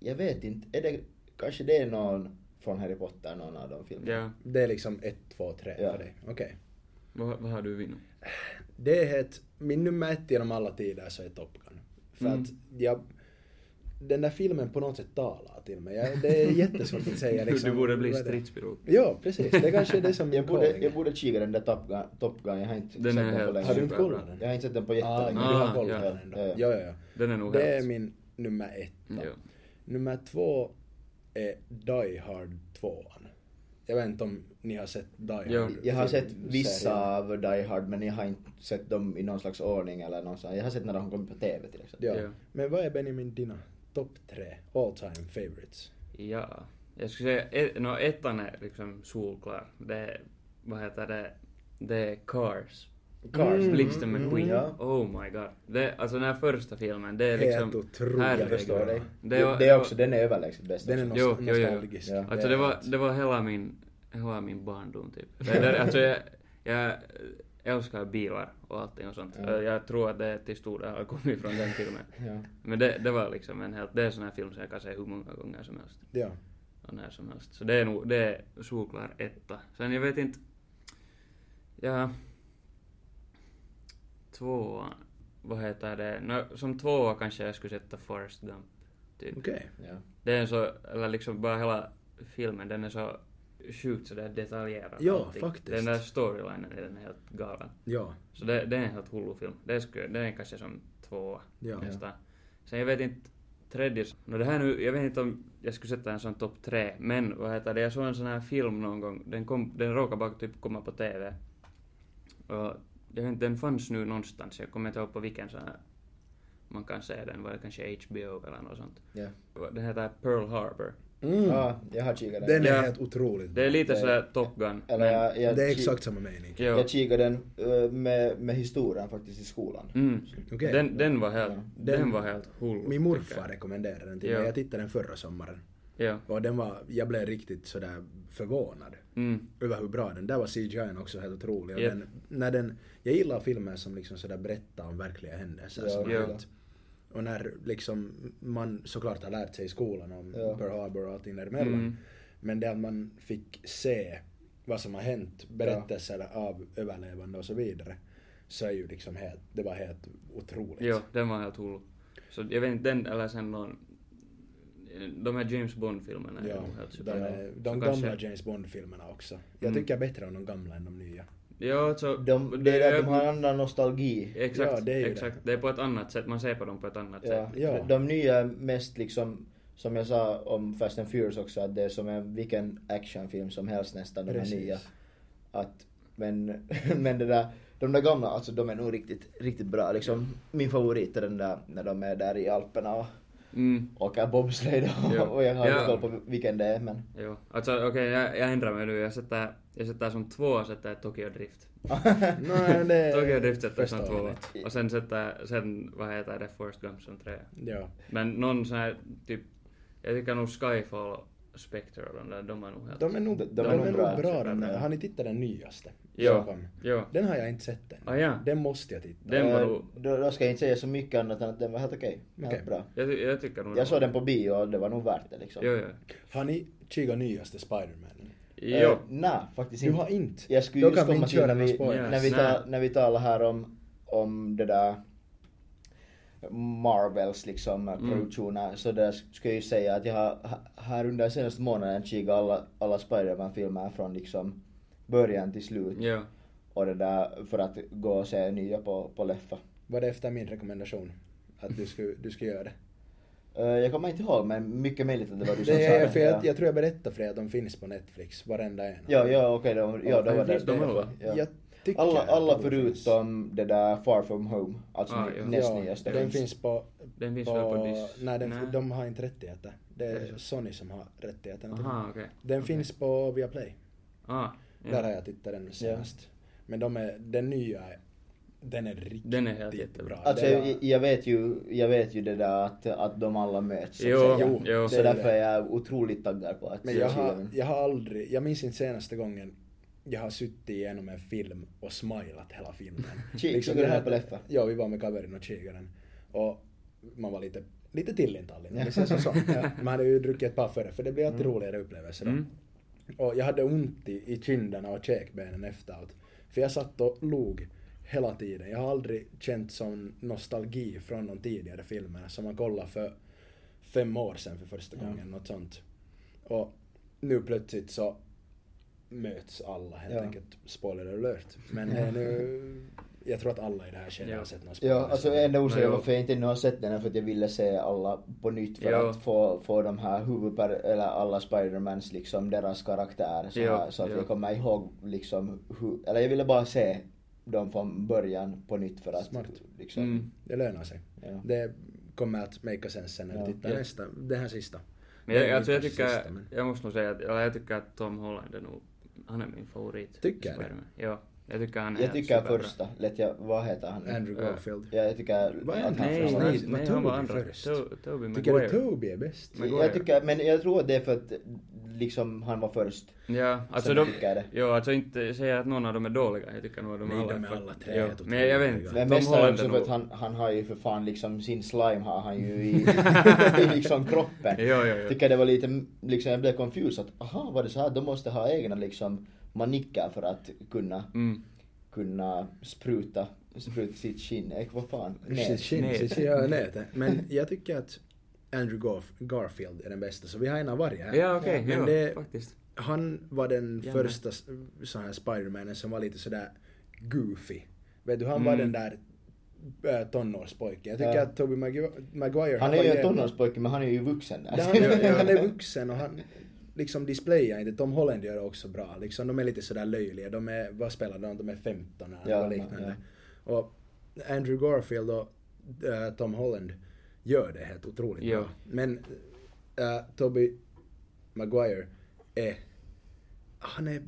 jag vet inte, är det, kanske det är någon från Harry Potter, någon av de filmerna. Ja. Det är liksom ett, två, tre Ja. för dig. Okej. Vad, vad har du vinnit? Det är ett, min nummer ett genom alla tider så är Top Gun. För Mm. att jag... Den där filmen på något sätt talar till mig. Jag, det är jättesvårt att säga liksom. du borde bli vad är det? stridspilot. Ja, precis. Det kanske är det som Jag min borde, calling är. jag borde kika den där Top Gun, Top Gun. jag har inte Den är sett den helt på länge. Har du inte superbra. kollat den? Jag har inte sett den på Ah, men jättelänge. du har Ah, koll på ja. den ändå. Ja, ja. Ja, ja, Den är ja. nog Det helt... är min nummer ett. Ja. Nummer två är Die Hard 2. Jag vet inte om ni har sett Die Hard? Ja. Jag har sett filmserien. vissa av Die Hard men jag har inte sett dem i någon slags ordning eller någonstans. Jag har sett när de kom på TV till exempel. Ja. Ja. Men vad är Benjamin dina topp tre all time favorites? Ja, jag skulle säga, ett, no, ettan är liksom solklar. Det är, vad heter det, det är Cars. Cars. Mm, Blixten McQueen. ja. Oh my god. Det, alltså den här första filmen, det är Helt liksom... otroligt. herregud. Jag förstår dig. Det var- det är också, den är överlägset bäst. Den är också. nost- Jo, jo, jo. nostalgisk. Ja. Alltså det var, allt. det var hela min, hela min barndom typ. Det, det, alltså jag, jag älskar bilar och allting och sånt. Ja. Jag tror att det till stor del har kommit från den filmen. Ja. Men det, det var liksom en helt, det är en sån här film som jag kan se hur många gånger som helst. Ja. och när som helst. Så det är nog, det är solklar etta. Sen jag vet inte, ja, tvåan, vad heter det, Nå, som tvåa kanske jag skulle sätta Forrest Gump. Typ. Okej. Ja. Det är så, eller liksom bara hela filmen, den är så sjukt sådär detaljerad. Ja, faktiskt. Den där storylinen är den helt galen. Ja. Så det, det är en helt hullu film. Det skulle, den är kanske som tvåa. Ja. nästan. Sen jag vet inte, tredje, no det här nu, jag vet inte om jag skulle sätta en sån topp tre, men vad heter det, jag såg en sån här film någon gång, den, kom, den råkade bara typ komma på TV. Och jag vet inte, den fanns nu någonstans, jag kommer inte ihåg på vilken sån här Man kan se den, var det kanske HBO eller något sånt. Ja. Den heter Pearl Harbor. Mm. Ja, jag har kikat den. Den är Ja. helt otrolig. Det är lite Det- sådär Top Gun. Eller jag, jag, Det är ki- exakt samma mening. Jo. jag kikade den eh, med, med historien faktiskt i skolan. Mm. Okej. Den, den var helt, Ja. den, Den- var helt hull. Min morfar rekommenderade den till Ja. mig. Jag tittade den förra sommaren. Ja. Och den var, jag blev riktigt sådär förvånad Mm. över hur bra den, där var CGI också helt otrolig. Och Japp. den, när den, jag gillar filmer som liksom sådär berättar om verkliga händelser. Ja, som har ja. hänt. Och när liksom man såklart har lärt sig i skolan om Ja. Pearl Harbor och allting däremellan. Mm. Men det att man fick se vad som har hänt, berättelser av överlevande och så vidare. Så är ju liksom helt, det var helt otroligt. Jo, den var helt hull. Så jag vet inte, den eller sen någon... De här no James Bond-filmerna är Ja, nog helt de, super. är, Så de kanske- gamla James Bond-filmerna också. Jag Mm. tycker bättre om de gamla än de nya. Jo, så... De, det är där de har en annan nostalgi. Exakt, Ja, det är ju exakt. Det. är på ett annat sätt, man ser på dem på ett annat Ja, sätt. Ja. De nya är mest liksom, som jag sa om Fast and Furious också, att det är som en, vilken actionfilm som helst nästan, de här nya. Att, men, men det där, de där gamla, alltså de är nog riktigt, riktigt bra liksom. Min favorit är den där när de är där i Alperna och Mm. åker bobsleigh och, Ja. och jag har Ja. inte koll på vilken det är men. Jo. Alltså okej, jag, jag ändrar mig nu. Jag sätter, jag sätter som två sätter jag Tokyo Drift. Nej, det Tokyo Drift sätter jag som förstår två. jag Och sen sätter sen vad heter det, Forrest Gump som tre. Ja. Men någon sån här typ, jag tycker nog Skyfall och Spectre och de där, de är nog helt... De är nog, de, De- de är är nog bra. typ, bra, de där. Ja. Har ni tittat den nyaste? Ja. Som kom? Jo. Den har jag inte sett än. Ah, ja. Den måste jag titta. Den var Eh, nog- då, då ska jag inte säga så mycket annat än att den var helt okej. Helt Okej. bra. Jag, ty- jag tycker nog... Jag såg den på bio och det var nog värt det liksom. Jo, Eh, jo. Har ni kikat nyaste Spider-Man? Eh, Jo. Nej, faktiskt Du inte. har inte? Jag skulle Då just kan vi komma inte till köra när någon vi, spoiler. när, vi Nej. ta, när vi talar här om, om det där Marvels liksom Mm. produktioner så där sk- ska jag ju säga att jag har ha- här under senaste månaden kikat alla, alla Spider-Man-filmer från liksom början till slut Jo. och det där för att gå och se nya på, på Leffa. Var det efter min rekommendation? Att du skulle, du skulle göra det? Eh, jag kommer inte ihåg men mycket möjligt att det var du som det sa är, för jag, ja. jag tror jag berättade för er att de finns på Netflix, varenda en. Ja, ja okej, de, ja, Ja, det var men det. finns de det- alla? ja. Jag tycker Alla, att alla det borde förutom det där Far From Home, alltså Ah, ah, ja. näst Ja, nyaste. Den finns på... Den finns väl på Dis- Nej, den, Nej. de har inte rättigheter. Det är Ja. Sony som har rättigheterna till den. Aha, okej. Den Okej. finns på Viaplay. Ah, Där ja. har jag tittat den senast. Men de är, den nya, är- den är riktigt Den är helt jättebra. bra. Alltså Det var- jag, jag vet ju, jag vet ju det där att, att de alla möts. så att Jo, säga. jo, jo. Så därför är jag otroligt taggad på att Men jag se har, den. jag har aldrig, jag minns inte senaste gången jag har suttit igenom en film och smilat hela filmen. Ki- kikade det liksom här- ni på Leffa? Ja, vi var med kaverin och kikade den. Och man var lite, lite tillintallin om vi säger så. så. Ja. Man hade ju druckit ett par före, för det blir alltid roligare upplevelser då. Mm. Och jag hade ont i, i kinderna och käkbenen efteråt. För jag satt och log hela tiden. Jag har aldrig känt sån nostalgi från de tidigare filmerna som man kollade för fem år sedan för första gången. Något sånt. Och nu plötsligt så möts alla helt Ja. enkelt. Spoiler alert. Men eh, nu... Jag tror att alla i det här skedet Ja. har sett någon spoiler. Ja, alltså enda Nej, orsaken jo. varför jag inte ännu har sett den är för att jag ville se alla på nytt för Jo. att få, få de här huvudper, eller alla Spidermans liksom, deras karaktärer så, Jo, här, så att jo. jag kommer ihåg liksom hur, eller jag ville bara se dem från början på nytt för att Smart. liksom, Mm. Det lönar sig. ja. Det kommer att make sense sen när vi Ja. tittar Ja. nästa. Den här sista. Men jag, Nej, alltså jag inte tycker, sista, men- jag måste nog säga att, eller jag tycker att Tom Holland är nog, han är min favorit. Tycker du? Spider-Man. Ja, jag tycker han är Jag helt tycker superbra. första, lät jag, vad heter han? nu? Andrew Ja. Garfield. Ja, jag tycker Vad är att han det? Nej, Fast framstår- nej, han- nej, Toby han var andra. först. To- Toby Tycker du Maguire. Toby är bäst? Maguire. Jag tycker, men jag tror att det är för att liksom han var först. Ja, alltså Sen de, tycker jag det. jo, alltså inte säga att någon av dem är dåliga. Jag tycker nog att de Nej, alla de är för- alla tre Jo, helt Men jag vet otroliga. inte. Men Tom mest är det Holland är också för nog... att han, han har ju för fan liksom sin slime har han ju i, i liksom kroppen. Jo, jo, jo. Tycker det var lite, liksom jag blev confused att aha var det så här, de måste ha egna liksom manicker för att kunna, Mm. kunna spruta, spruta sitt skinn. Eh, vad fan. Shit, Nej. shit, Nej. shit, shit, Mm. ja, nej, det- Men jag tycker att Andrew Garf- Garfield är den bästa, så vi har en av varje här. Ja, okej. Men jo, det- faktiskt. Han var den Ja, första s- sån här Spidermanen som var lite sådär goofy. Vet du, han var Mm. den där äh, tonårspojken. Jag tycker Ja. att Tobey Magu- Maguire... Han är ju en jävla- tonårspojke men han är ju vuxen där. Ja, Han är, han är vuxen och han liksom displayar inte. Tom Holland gör det också bra. Liksom, de är lite sådär löjliga. De är, vad spelar de? De är 15 eller Ja, något liknande. Och Andrew Garfield och äh, Tom Holland gör det helt otroligt Ja. bra. Men äh, Toby Maguire är... Han är...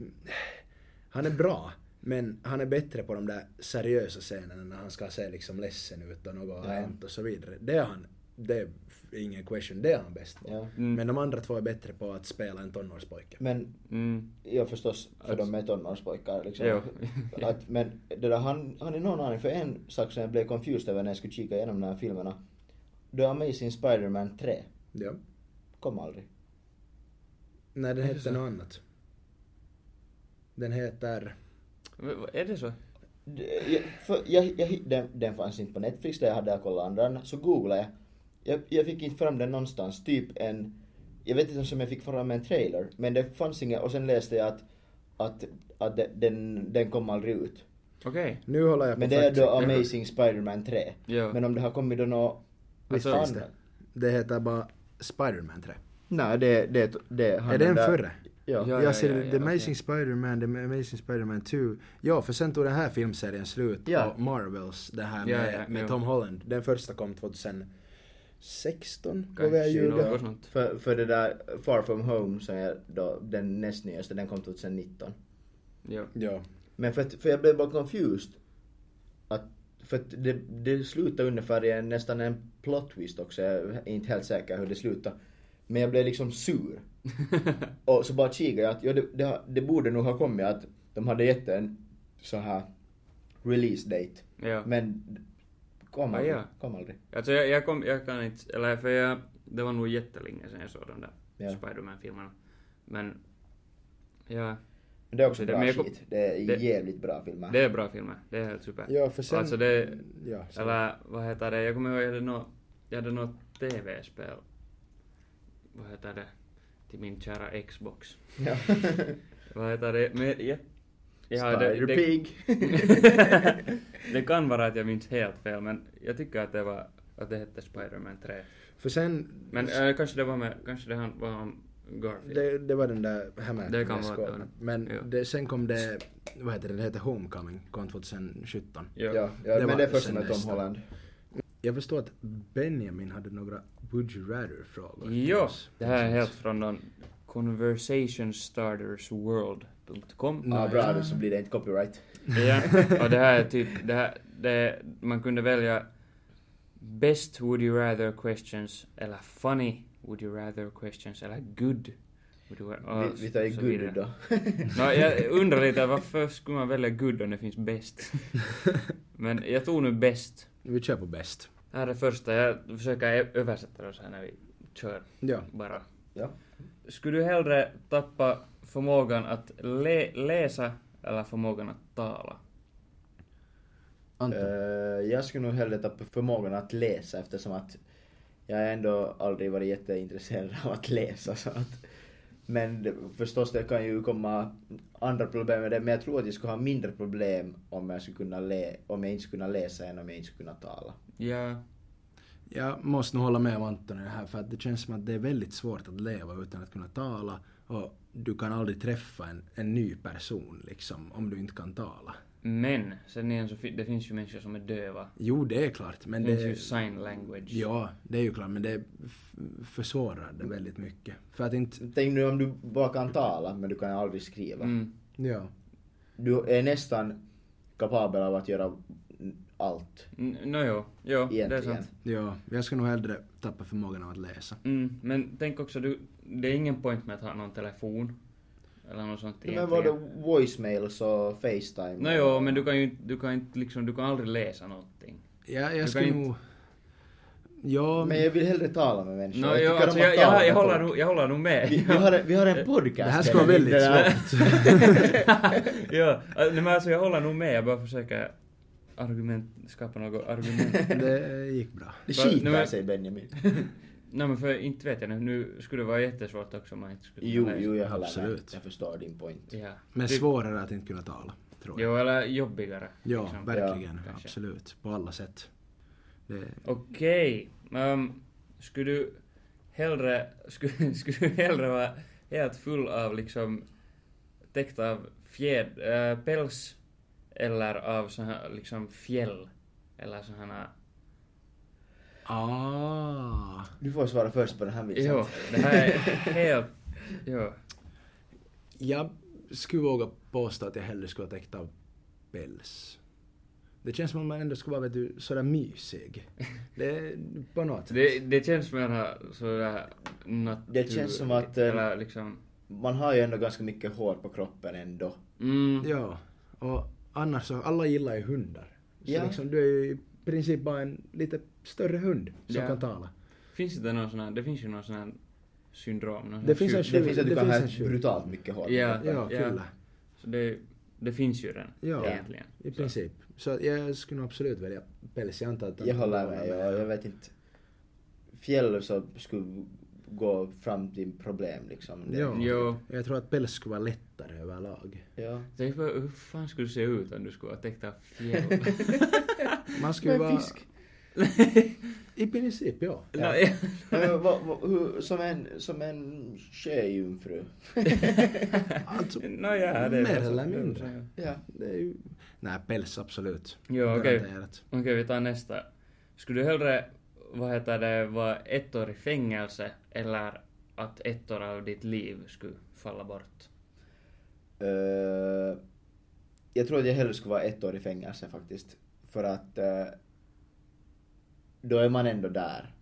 Han är bra, men han är bättre på de där seriösa scenerna när han ska se liksom ledsen ut och något har Ja. hänt och så vidare. Det är han. Det är ingen question. Det är han bäst på. Ja. Mm. Men de andra två är bättre på att spela en tonårspojke. Men Mm. ja, förstås för Att- de är tonårspojkar liksom. Jo. att, men det där, han, han är någon aning, för en sak som jag blev confused över när jag skulle kika igenom de här filmerna. The Amazing Spider-Man 3 Ja. kom aldrig. Nej, den Är det heter så? något annat. Den heter... V- vad- Är det så? Det- Jag, för, jag, jag, den, den fanns inte på Netflix där jag hade jag kollat andra, så googlade jag. jag. Jag fick inte fram den någonstans, typ en... Jag vet inte ens om jag fick fram en trailer, men det fanns inga, och sen läste jag att, att, att de- den, den kom aldrig ut. Okej. Nu håller jag på Men det är fact då check. Amazing Spider-Man 3. Ja. Men om det har kommit då nå... Visst Alltså- finns det. Det heter bara Spider-Man 3. Nej, det, det, det han är den förre? Ja. Ja. jag ser ja, The okej. Amazing Spider-Man, The Amazing Spider-Man 2. Ja, för sen tog den här filmserien slut Ja. och Marvels, det här Ja, med, ja, med jo. Tom Holland. Den första kom 2016, vågar jag Kanske ljuga. något sånt. För, för det där Far From Home som jag då, den näst nyaste, den kom 2019. Ja. Ja. Men för, att, för jag blev bara confused. Att, för att det, det slutar ungefär i en, nästan en plot twist också. Jag är inte helt säker hur det slutar. Men jag blev liksom sur. Och så bara kikade jag att ja, det, det, har- det borde nog ha kommit att de hade gett en så här release date. ja. Men kom Ah, aldrig. ja. Kom aldrig. Alltså jag, jag, kom, jag kan inte, eller för jag, det var nog jättelänge sedan jag såg de där Ja. Spiderman-filmerna. Men, ja, Men det är också Det- bra men jag kom- skit. Det är det- jävligt bra filmer. det är bra filmer. Det är helt super. ja, för sen... Alltså det, ja, sen- eller vad heter det, jag kommer ihåg jag hade nå, jag hade något TV-spel. Vad heter det? Till min kära Xbox. Ja. Vad heter det? Men, ja. Spider Pig. det kan vara att jag minns helt fel, men jag tycker att det var, att det hette Spider-Man 3. För sen... Men äh, kanske det var med, kanske det han, var om Garfield. det, det var den där hemma Det kan med vara skålen. att det var Men Ja. det, sen kom det, vad heter det, det heter Homecoming, kom 2017. ja, Ja. ja, Det var men det är först sen med Tom nästa. Holland. Jag förstår att Benjamin hade några Would you rather-frågor. till Ja, oss. det här är helt från den conversationstartersworld.com. Ja, Nej. bra, då så blir det inte copyright. Ja, och det här är typ, det här, det är, man kunde välja Best would you rather questions eller funny would you rather questions eller good would you rather, Vi, vi tar ju good då. No, jag undrar lite varför skulle man välja good om det finns bäst? Men jag tog nu bäst. Vi kör på bäst. Det här är första, jag försöker ö- översätta det så här när vi kör Ja. bara. Ja. Skulle du hellre tappa förmågan att le- läsa eller förmågan att tala? Anton. Eh, jag skulle nog hellre tappa förmågan att läsa eftersom att jag ändå aldrig varit jätteintresserad av att läsa. Så att, men det- förstås, det kan ju komma andra problem med det, men jag tror att jag skulle ha mindre problem om jag, skulle kunna lä- om jag inte skulle kunna läsa än om jag inte skulle kunna tala. Ja, Jag måste nog hålla med om Anton i det här för att det känns som att det är väldigt svårt att leva utan att kunna tala och du kan aldrig träffa en, en ny person liksom om du inte kan tala. men Mm. sen igen så fi- det finns ju människor som är döva. Jo, det är klart men Det det... finns ju sign language. Ja, det är ju klart men det f- försvårar det väldigt mycket. För att inte... Tänk nu om du bara kan tala, men du kan aldrig skriva. Mm. Ja. Du är nästan kapabel av att göra allt. N- Nå jo, jo det är Egentligen. sant. Ja, jag ska nog hellre tappa förmågan av att läsa. Mm, men tänk också, du, det är ingen point med att ha någon telefon. Eller något sånt Men var det egentligen. voicemails och facetime? Nå jo, men du kan ju inte- du kan inte liksom, du kan aldrig läsa någonting. Jag, kan jag skulle inte- nog... Ja, Men jag vill hellre tala med människor. Nå Jag jo, tycker alltså om att jag, jag, tala med jag, håller folk. nog, jag håller nog med. Vi, vi, har, en- vi har en podcast. det här ska vara eller? väldigt Det där- svårt. ja, alltså, nej, men alltså jag håller nog med, jag bara försöker argument, skapa något argument. det gick bra. Det Va? Nej, skitar men- sig Benjamin. Nej men för inte vet jag nu, nu skulle det vara jättesvårt också om man inte skulle kunna Jo, läsa. jo, jag håller Absolut. med. Jag förstår din point. Ja. Men Det- svårare att inte kunna tala, tror jag. Jo, eller jobbigare. Ja, liksom. verkligen. kanske. absolut. På alla sätt. Det, Okej. ehm, skulle du hellre, skulle, skulle du hellre vara helt full av liksom täckt av fjäd, äh, päls eller av så här, liksom fjäll? Eller sådana Ah. Du får svara först på den här Vincent. Jo, det här är helt... Jo. Jag skulle våga påstå att jag hellre skulle ha täckt av päls. Det känns som att man ändå skulle vara vet du, sådär mysig. Det är på något sätt. Det, det känns mera sådär natur... Det känns som att, eh, Eller liksom... Man har ju ändå ganska mycket hår på kroppen ändå. Mm, Ja. Och annars så, alla gillar ju hundar. Så Ja. liksom, du är ju i princip bara en lite större hund som Ja. kan tala. Finns det någon sån här... Det finns ju någon sån här syndrom. Någon sån Det här finns en sjuk- Det finns att Det du kan finns ha en tjuv. brutalt mycket hår på Ja. kroppen. Ja, Ja. kyllä. Så det, det finns ju den Ja. egentligen. I princip. Så att jag skulle nog absolut välja päls. Jag antar att... Jag håller med, jag, jag vet inte. Fjäll så skulle gå fram till problem liksom. Det- Ja. Jo. Jag tror att päls skulle vara lättare överlag. ja. Tänk på hur fan skulle du se ut om du skulle ha täckt av fjäll? Man skulle ju Men vara... fisk. I princip, ja. No, ja. Ja, men vad- vad- hur- som en, som en sjöjungfru. Alltså, No, ja, det är mer så- eller mindre. Ja. Det är ju... Nej, päls absolut. Jo, okej. Garanterat. Okej, vi tar nästa. Skulle du hellre, vad heter det, vara ett år i fängelse eller att ett år av ditt liv skulle falla bort? Eh, jag tror att jag hellre skulle vara ett år i fängelse faktiskt. För att eh, då är man ändå där.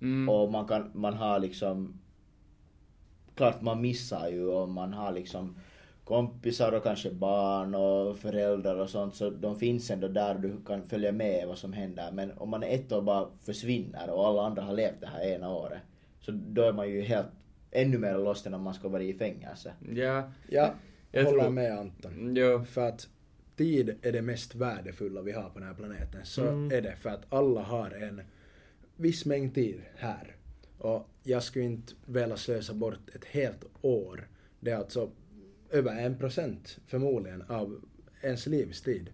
Mm. Och man, kan, man har liksom... Klart man missar ju och man har liksom kompisar och kanske barn och föräldrar och sånt så de finns ändå där och du kan följa med vad som händer. Men om man är ett år bara försvinner och alla andra har levt det här ena året så då är man ju helt ännu mer lost än om man ska vara i fängelse. Ja, Jag, Jag håller tror- med Anton. jo. För att tid är det mest värdefulla vi har på den här planeten. Så Mm. är det. För att alla har en viss mängd tid här. Och jag skulle inte vilja slösa bort ett helt år. Det är alltså över en procent förmodligen av ens livstid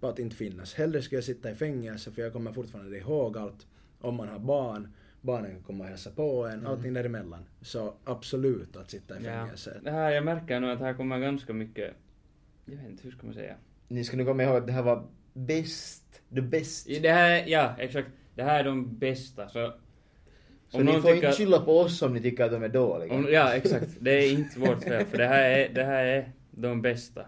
på att inte finnas. Hellre skulle jag sitta i fängelse för jag kommer fortfarande ihåg allt. Om man har barn, barnen kommer och hälsa på en, allting däremellan. Så absolut att sitta i Mm. Ja. fängelse. Det här, jag märker nu att här kommer ganska mycket, jag vet inte, hur ska man säga? Ni ska nu komma ihåg att det här var bäst, the best. I Det här, ja, exakt. Det här är de bästa, så... Så ni får inte skylla på oss om ni tycker att de är dåliga. om, Ja, exakt. Det är inte vårt fel, för det här är, det här är de bästa.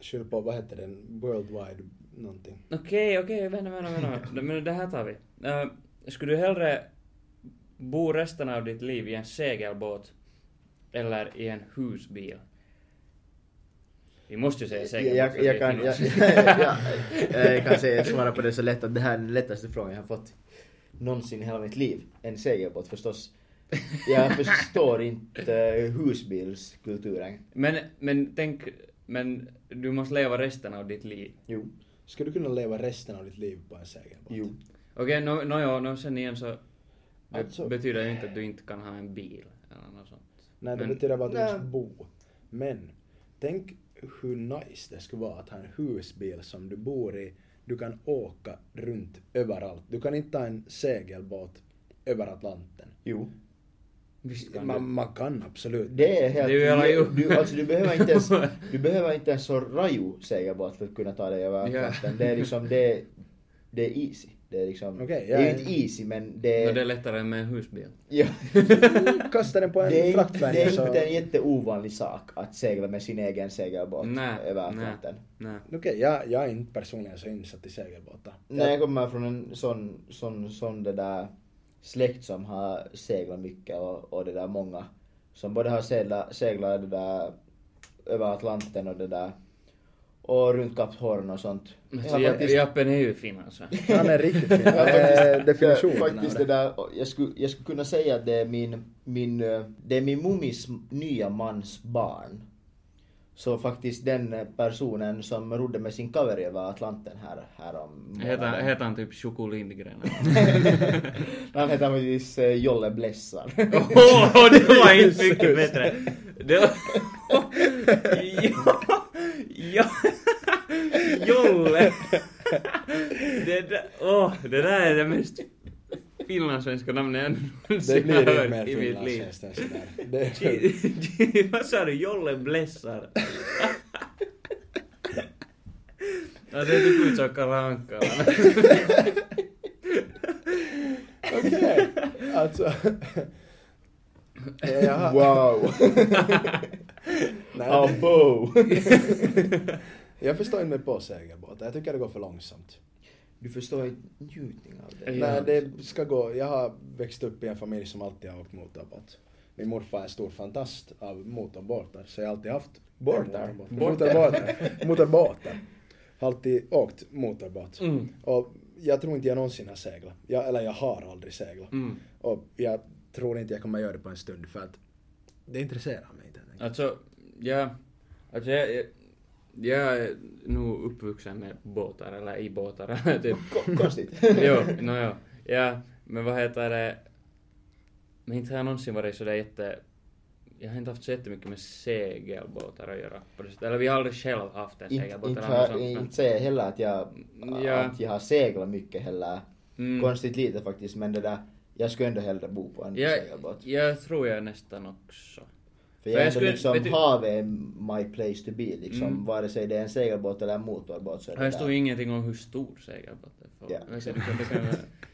Skyll på, vad heter den, worldwide någonting. Okej, okej, vänta, vänta, vänta. Men det här tar vi. Eh, skulle du hellre bo resten av ditt liv i en segelbåt eller i en husbil? Vi måste ju säga segelbåt. jag, för jag, det kan, jag, finns. jag, jag, jag kan säga, svara på det så lätt att det här är den lättaste frågan jag har fått någonsin i hela mitt liv. En segelbåt förstås. Jag förstår inte husbilskulturen. men, men tänk, men du måste leva resten av ditt liv. Jo. Skulle du kunna leva resten av ditt liv på en segelbåt? Jo. Okej, nå no, no, no, sen igen så det Alltså- betyder ju inte att du inte kan ha en bil eller något sånt. Nej, det Mm. Men- betyder bara att du Nej. måste bo. Men, tänk hur nice det skulle vara att ha en husbil som du bor i. Du kan åka runt överallt. Du kan inte ha en segelbåt över Atlanten. Jo. Visst kan Man, man kan absolut. Det är helt... Det är ju hela jo. du, alltså, du behöver inte ens, du behöver inte ens så raju segelbåt för att kunna ta dig över Ja. Atlanten. Det är liksom, det är, det är easy. Det är liksom, Okej, det är jag- ju inte easy men det du. är... No, det är lättare än med en husbil. ja. Kasta den på Det är, en inte, det fraktfärja är så... inte en jätteovanlig sak att segla med sin egen segelbåt Nej, över nej. Atlanten. Nej. Okej, jag, jag är inte personligen så insatt i segelbåtar. När jag kommer från en sån, sån, sån det där släkt som har seglat mycket och, och det där många som både har seglat, seglat det där över Atlanten och det där och runt Kap Horn och sånt. Men Jag så har ja- faktiskt- Jappen är ju fin alltså. Han är riktigt fin. Jag har Det är faktiskt- Eh, definitionen jag, av faktiskt det där, jag, skulle, jag skulle kunna säga att det är min, min, eh, det är min mummis nya mans barn. Så faktiskt den eh, personen som rodde med sin cover över Atlanten här, här om Heter, heter han typ Choco Lindgren? Han heter faktiskt eh, Jolle Blessar. Oh, Åh, det var inte mycket bättre! Det var... ja, ja, Jolle! oh, det, där, åh, det där är det mest finlandssvenska namnet jag Det någonsin blir har inte hört mer i mitt liv. finlandshäst än sådär. Det är- Ji- Vad sa du? Jolle Blessar? Alltså jag tycker ut som Kalle Anka. Alltså. Jag har- Wow! Nej, Abo! jag förstår inte mig på segelbåtar. Jag tycker det går för långsamt. Du förstår inte njutningen av det. Ja. Nej, det ska gå. Jag har växt upp i en familj som alltid har åkt motorbåt. Min morfar är en stor fantast av motorbåtar, så jag har alltid haft Båtar? motorbåtar. Båtar. Motorbåtar. motorbåtar. Har alltid åkt motorbåt. Mm. Och jag tror inte jag någonsin har seglat. Jag, eller jag har aldrig seglat. Mm. Och jag tror inte jag kommer göra det på en stund för att det intresserar mig inte. helt enkelt. Alltså, jag... Alltså jag, jag, jag är nog uppvuxen med båtar, eller i båtar, typ. Ko- Konstigt. jo, no, jo. Ja, men vad heter det? Men inte har jag någonsin varit sådär jätte... Jag har inte haft så jättemycket med segelbåtar att göra på det sättet. Eller vi har aldrig själv haft en Inte- segelbåt Inte eller något har- sånt. men- inte säger heller att jag, Ja. att jag har seglat mycket heller. Mm. Konstigt lite faktiskt men det där, jag skulle ändå hellre bo på en segelbåt. jag, jag tror jag nästan också. För jag, jag jag skulle- liksom, vet du- havet är my place to be liksom. Mm. Vare sig det är en segelbåt eller en motorbåt så är det Här står där. ingenting om hur stor segelbåt är. Ja. Men så du kan- det kan ju-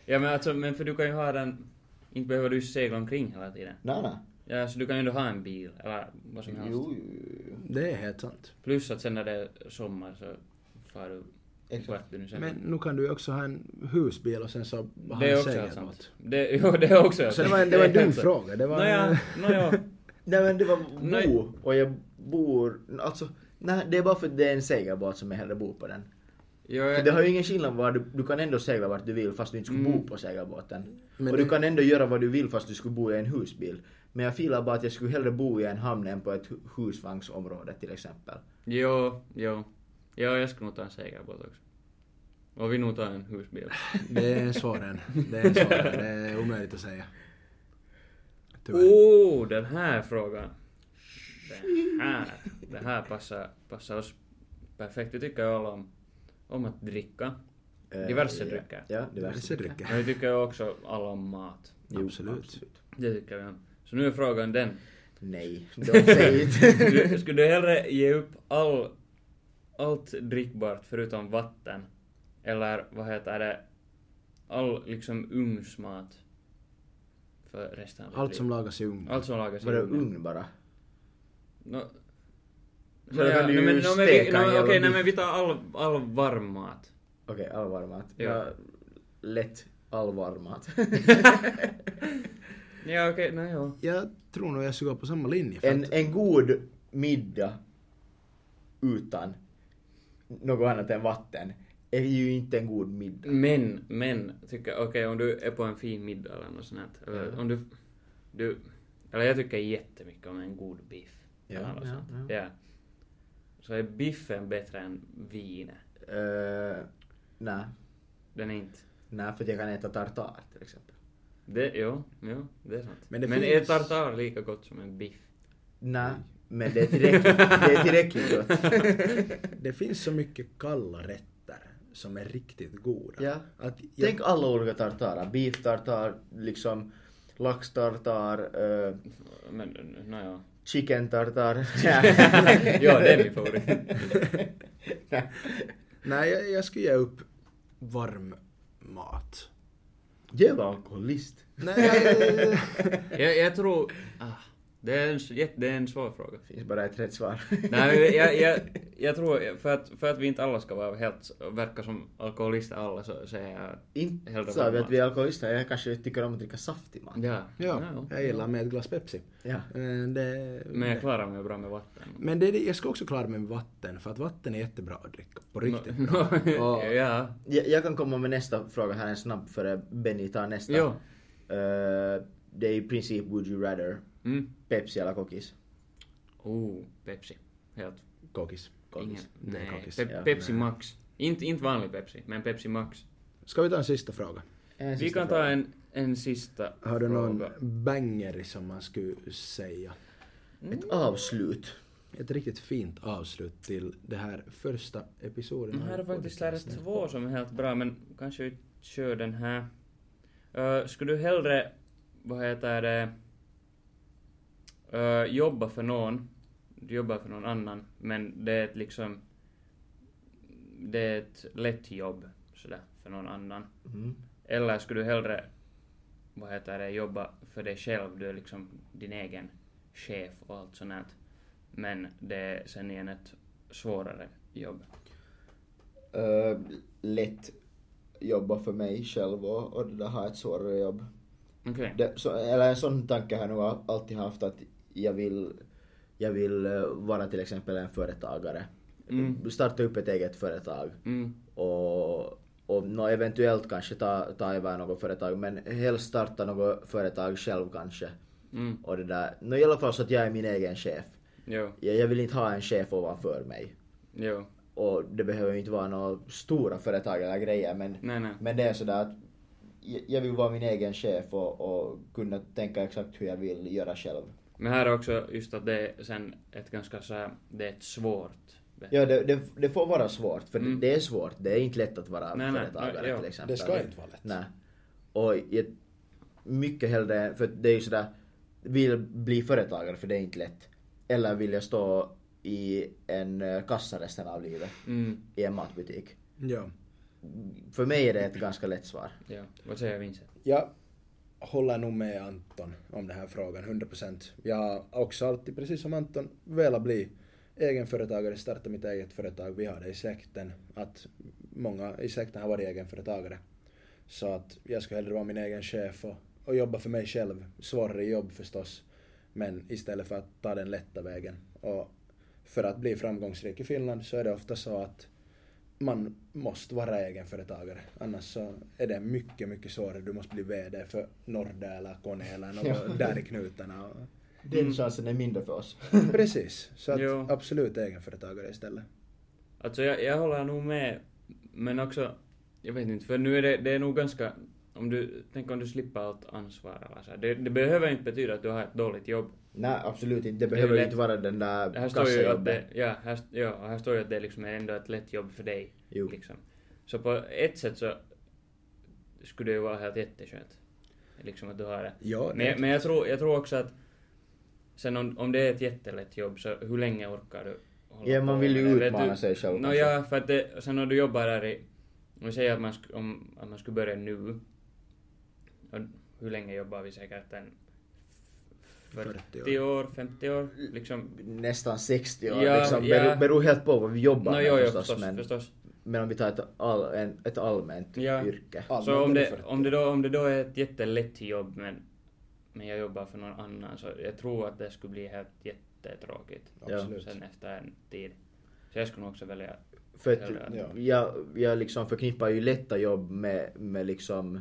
Ja men alltså, men för du kan ju ha den... Inte behöver du segla omkring hela tiden. Nej, nej. Ja, så du kan ju ändå ha en bil eller vad som helst. Jo, jo, jo. Det är helt sant. Plus att sen när det är sommar så far du Exakt. vart du nu sen Men nu kan du ju också ha en husbil och sen så ha Det är en också helt segelbåt. sant. Det, jo, det är också helt Så det sant. var en, det var en är dum helt sant. fråga. Det var... Nåja, nåja. Nej men det var Nej. bo och jag bor, alltså nej det är bara för att det är en segelbåt som jag hellre bor på den. Jag För det har är, ju ingen skillnad var du, du kan ändå segla vart du vill fast du inte skulle Mm. bo på segelbåten. Men och du det- kan ändå göra vad du vill fast du skulle bo i en husbil. Men jag filar bara att jag skulle hellre bo i en hamn än på ett hu- husvagnsområde till exempel. jo, jo. Ja, jag skulle nog ta en segelbåt också. Och vi nog tar en husbil. Det är en svår en. Det är en svår en. Det är omöjligt att säga. Åh, Tyvärr. oh, den här frågan. Det här, det här passar, passar oss perfekt. Vi tycker ju alla om, om att dricka. Eh, Diverse ja. drycker. Ja, diverse Diverse drycker. drycker. Men vi tycker ju också alla om mat. Jo, Absolut. Det tycker vi om. Så nu är frågan den. Nej, don't say it. Skulle, skulle du hellre ge upp all, allt drickbart förutom vatten? Eller vad heter det? All liksom ugnsmat för resten av ditt Allt som liv? lagas i ugn. Allt som lagas i Vadå ugnen. ugn bara? No, Men då kan du no, ju men, no, men, vi, steka no, en jävla okej, nej, biff. men vi tar all, all varm mat. Okej, allvarmat. Ja. Ja. Lätt allvarmat. Ja okej, nej jo. Jag tror nog jag skulle gå på samma linje. För en, att, en god middag utan något annat än vatten är ju inte en god middag. Men, men, tycker okej om du är på en fin middag eller något sånt här, eller om du, du, eller jag tycker jättemycket om en god biff. Ja, eller något ja, sånt. ja. Så är biffen bättre än vinet? Eh, Nej, Den är inte. nej för att jag kan äta tartar till exempel. Det, jo, jo, det är sant. Men det men är finns- tartar lika gott som en biff? Nej, men det är tillräckligt, det är tillräckligt gott. det finns så mycket kalla rätter som är riktigt goda. Ja. Att jag, Tänk alla olika tartarer. Beef tartar, liksom lax tartar, eh, Men, nåja. chicken tartar. ja, det är min favorit. Nej, jag, jag skulle ge upp varm mat. Jävla alkoholist. Nej, jag- jag, jag tror... Ah, det, är en, s- jätte- det är en svår fråga. finns bara ett rätt svar. Nej, men jag, jag, jag tror, för att, för att vi inte alla ska vara helt, verka som alkoholister alla, så säger jag... Inte Hellre sa vi varm att vi är alkoholister, jag kanske tycker om att dricka saftig mat. Ja. ja, jag gillar med ett glas Pepsi. Ja. Men det, Men jag klarar mig bra med vatten. men det, är det- jag ska också klara mig med vatten, för att vatten är jättebra att dricka. På riktigt. ja. Ja. ja. Jag, jag kan komma med nästa fråga här en snabb före Benny tar nästa. Jo. Eh, det är i princip would you rather Mm. Pepsi eller kokis? Oh, Pepsi. Helt. Kokis. Ingen. Kokis. Det är Nej. kakis. Pe- Ja. Pepsi Max. Inte, inte vanlig Pepsi, men Pepsi Max. Ska vi ta en sista fråga? En Vi sista kan ta fråga. en, en sista Har du någon fråga. banger som man skulle säga? Ett avslut. Ett riktigt fint avslut till det här första episoden. Det Mm, här är faktiskt lära podcasten. två som är helt bra, men kanske vi kör den här. Eh, skulle du hellre, vad heter det, eh, jobba för någon, du jobbar för någon annan, men det är ett liksom, det är ett lätt jobb sådär, för någon annan. Mm. Eller skulle du hellre vad heter det, jobba för dig själv, du är liksom din egen chef och allt sånt här. Men det är sen igen ett svårare jobb. Eh, lätt jobba för mig själv och, och det där ha ett svårare jobb. Okej. Det, så, eller en sån tanke har jag nog al- alltid haft att jag vill, jag vill eh, vara till exempel en företagare. Mm. Starta upp ett eget företag. Mm. Och, och nå eventuellt kanske ta, ta över något företag men helst starta något företag själv kanske. Mm. Och det där. nå i alla fall så att jag är min egen chef. Jo. Jag, jag vill inte ha en chef ovanför mig. Jo. Och det behöver ju inte vara några stora företag eller grejer men, Nej, nej. men det är sådär att jag- jag vill vara min egen chef och, och kunna tänka exakt hur jag vill göra själv. Men här är också just att det är sen ett ganska så här, det är ett svårt... Ja, det, det, det får vara svårt, för Mm. det, det är svårt. Det är inte lätt att vara Nej, nej. företagare Ja, ja. till exempel. Det ska inte vara lätt. Nej. Och jag, mycket hellre, för det är ju sådär, vill jag bli företagare för det är inte lätt. Eller vill jag stå i en eh, kassa resten av livet, Mm. i en matbutik. Ja. För mig är det ett ganska lätt svar. Ja. Vad säger Vincent? Jag håller nog med Anton om den här frågan, 100%. Jag har också alltid, precis som Anton, velat bli egenföretagare, starta mitt eget företag. Vi har det i släkten, att många i släkten har varit egenföretagare. Så att jag skulle hellre vara min egen chef och, och jobba för mig själv. Svårare jobb förstås, men istället för att ta den lätta vägen. Och för att bli framgångsrik i Finland så är det ofta så att man måste vara egenföretagare. Annars så är det mycket, mycket svårare. Du måste bli VD för Norda eller Kone eller något där i knutarna. Den Mm. chansen är mindre för oss. Mm. Precis. Så att Jo. absolut egenföretagare istället. Alltså jag, jag håller nog med, men också, jag vet inte, för nu är det, det är nog ganska, om du, tänk om du slipper allt ansvar eller så här. Det, det behöver inte betyda att du har ett dåligt jobb. Nej, absolut inte. Det Det är behöver lätt. inte vara den där Här står ju att kassajobbet. det, ja, här, st- ja, och här står ju att det liksom är ändå ett lätt jobb för dig. Jo. Liksom. Så på ett sätt så skulle det ju vara helt jätteskönt. Liksom att du har det. Ja, det- Men, men jag, tror, jag tror också att sen om, om det är ett jättelätt jobb så hur länge orkar du? hålla Ja, man på vill ju med det? Vet utmana du- sig själv Nå kanske. ja, för att det, sen om du jobbar här i... Om vi säger att man, sk, om, att man skulle börja nu. Och hur länge jobbar vi säkert? En f- 40 år. 40 år, 50 år? Liksom. Nästan 60 år Ja, liksom. ja. Beror, beror helt på vad vi jobbar Nå med jo, jo, förstås. förstås, men, förstås. men om vi tar ett, all, en, ett allmänt Ja. yrke. Ja. Så Allmänt om är det det, 40. om, det då, om det då är ett jättelätt jobb men, men jag jobbar för någon annan så jag tror att det skulle bli helt jättetråkigt. Ja. Absolut. Sen efter en tid. Så jag skulle nog också välja... För att Eller- Ja. jag, jag liksom förknippar ju lätta jobb med, med liksom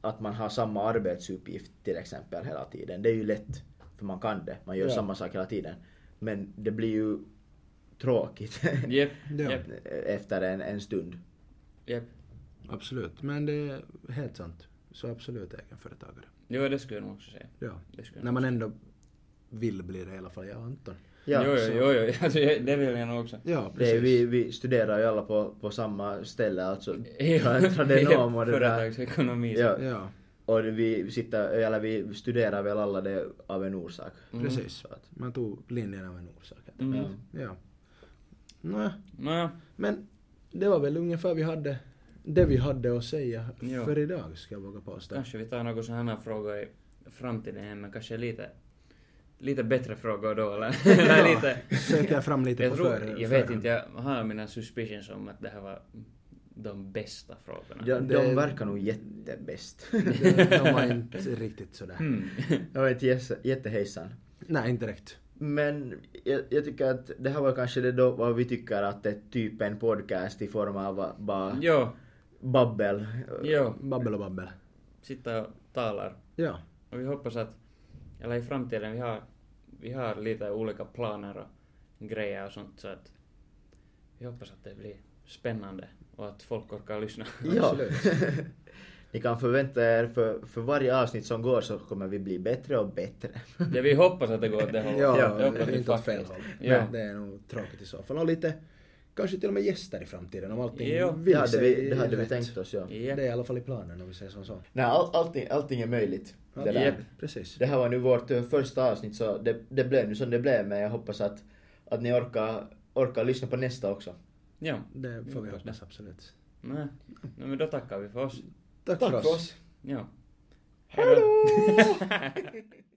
att man har samma arbetsuppgift till exempel hela tiden. Det är ju lätt, för man kan det. Man gör Ja. samma sak hela tiden. Men det blir ju tråkigt Jep, Ja. jep, efter en, en stund. jep. Absolut. Men det är helt sant. Så absolut egenföretagare. Jo, det skulle jag nog också säga. Ja. Det skulle jag När man ändå vill bli det i alla fall. Ja, Anton. Ja, jo, så- jo, jo, jo. Alltså, jag- det vill jag nog också. Ja, Det är, precis. vi, vi studerar ju alla på, på samma ställe, alltså tra- tradenom och det där. Företagsekonomi. Ja. Ja, Och vi, sitter, eller vi studerar väl alla det av en orsak. precis. Så att, Mm. Man tog linjen av en orsak. Mm. No ja. Ja. Nå, Nå, Men det var väl ungefär vi hade, det vi hade att säga Ja. för idag, ska jag våga påstå. kanske vi tar några sådana här frågor i framtiden här, men kanske lite, lite bättre frågor då, eller? eller lite... Söker jag fram lite Jag, på tror, för, jag vet inte, jag har mina suspicions om att det här var de bästa frågorna. de, Det- Mm. de verkar nog jättebäst. De var inte riktigt sådär. Mm. Jag vet, jätte- jättehejsan. Nej, inte direkt. Men jag, jag tycker att det här var kanske det då vad vi tycker att det är typ en podcast i form av bara jo, babbel. jo. Babbel och babbel. Sitta och talar. Ja, Och vi hoppas att, eller i framtiden, vi har, vi har lite olika planer och grejer och sånt så att vi hoppas att det blir spännande och att folk orkar lyssna. Ja. absolut. Ni kan förvänta er för, för varje avsnitt som går så kommer vi bli bättre och bättre. Ja, vi hoppas att det går åt det hållet. Ja, Jag hoppas det är inte åt fel faktiskt- håll. Ja. Det är nog tråkigt i så fall. Och lite, kanske till och med gäster i framtiden om allting Jo. vill Det hade sig vi, det hade vi rätt. tänkt oss, ja. Det Ja. är i alla fall i planen om vi säger som så. Nej, all, allting, allting är möjligt. Ja, Det, där. Japp. Precis. det här var nu vårt eh, första avsnitt så det, det blev nu som det blev men jag hoppas att, att ni orkar, orkar lyssna på nästa också. ja. Det får vi Hoppas Mm. hoppas absolut. Nej. Nej, men då tackar vi för oss. Tack, Tack för oss! Ja. Hej då!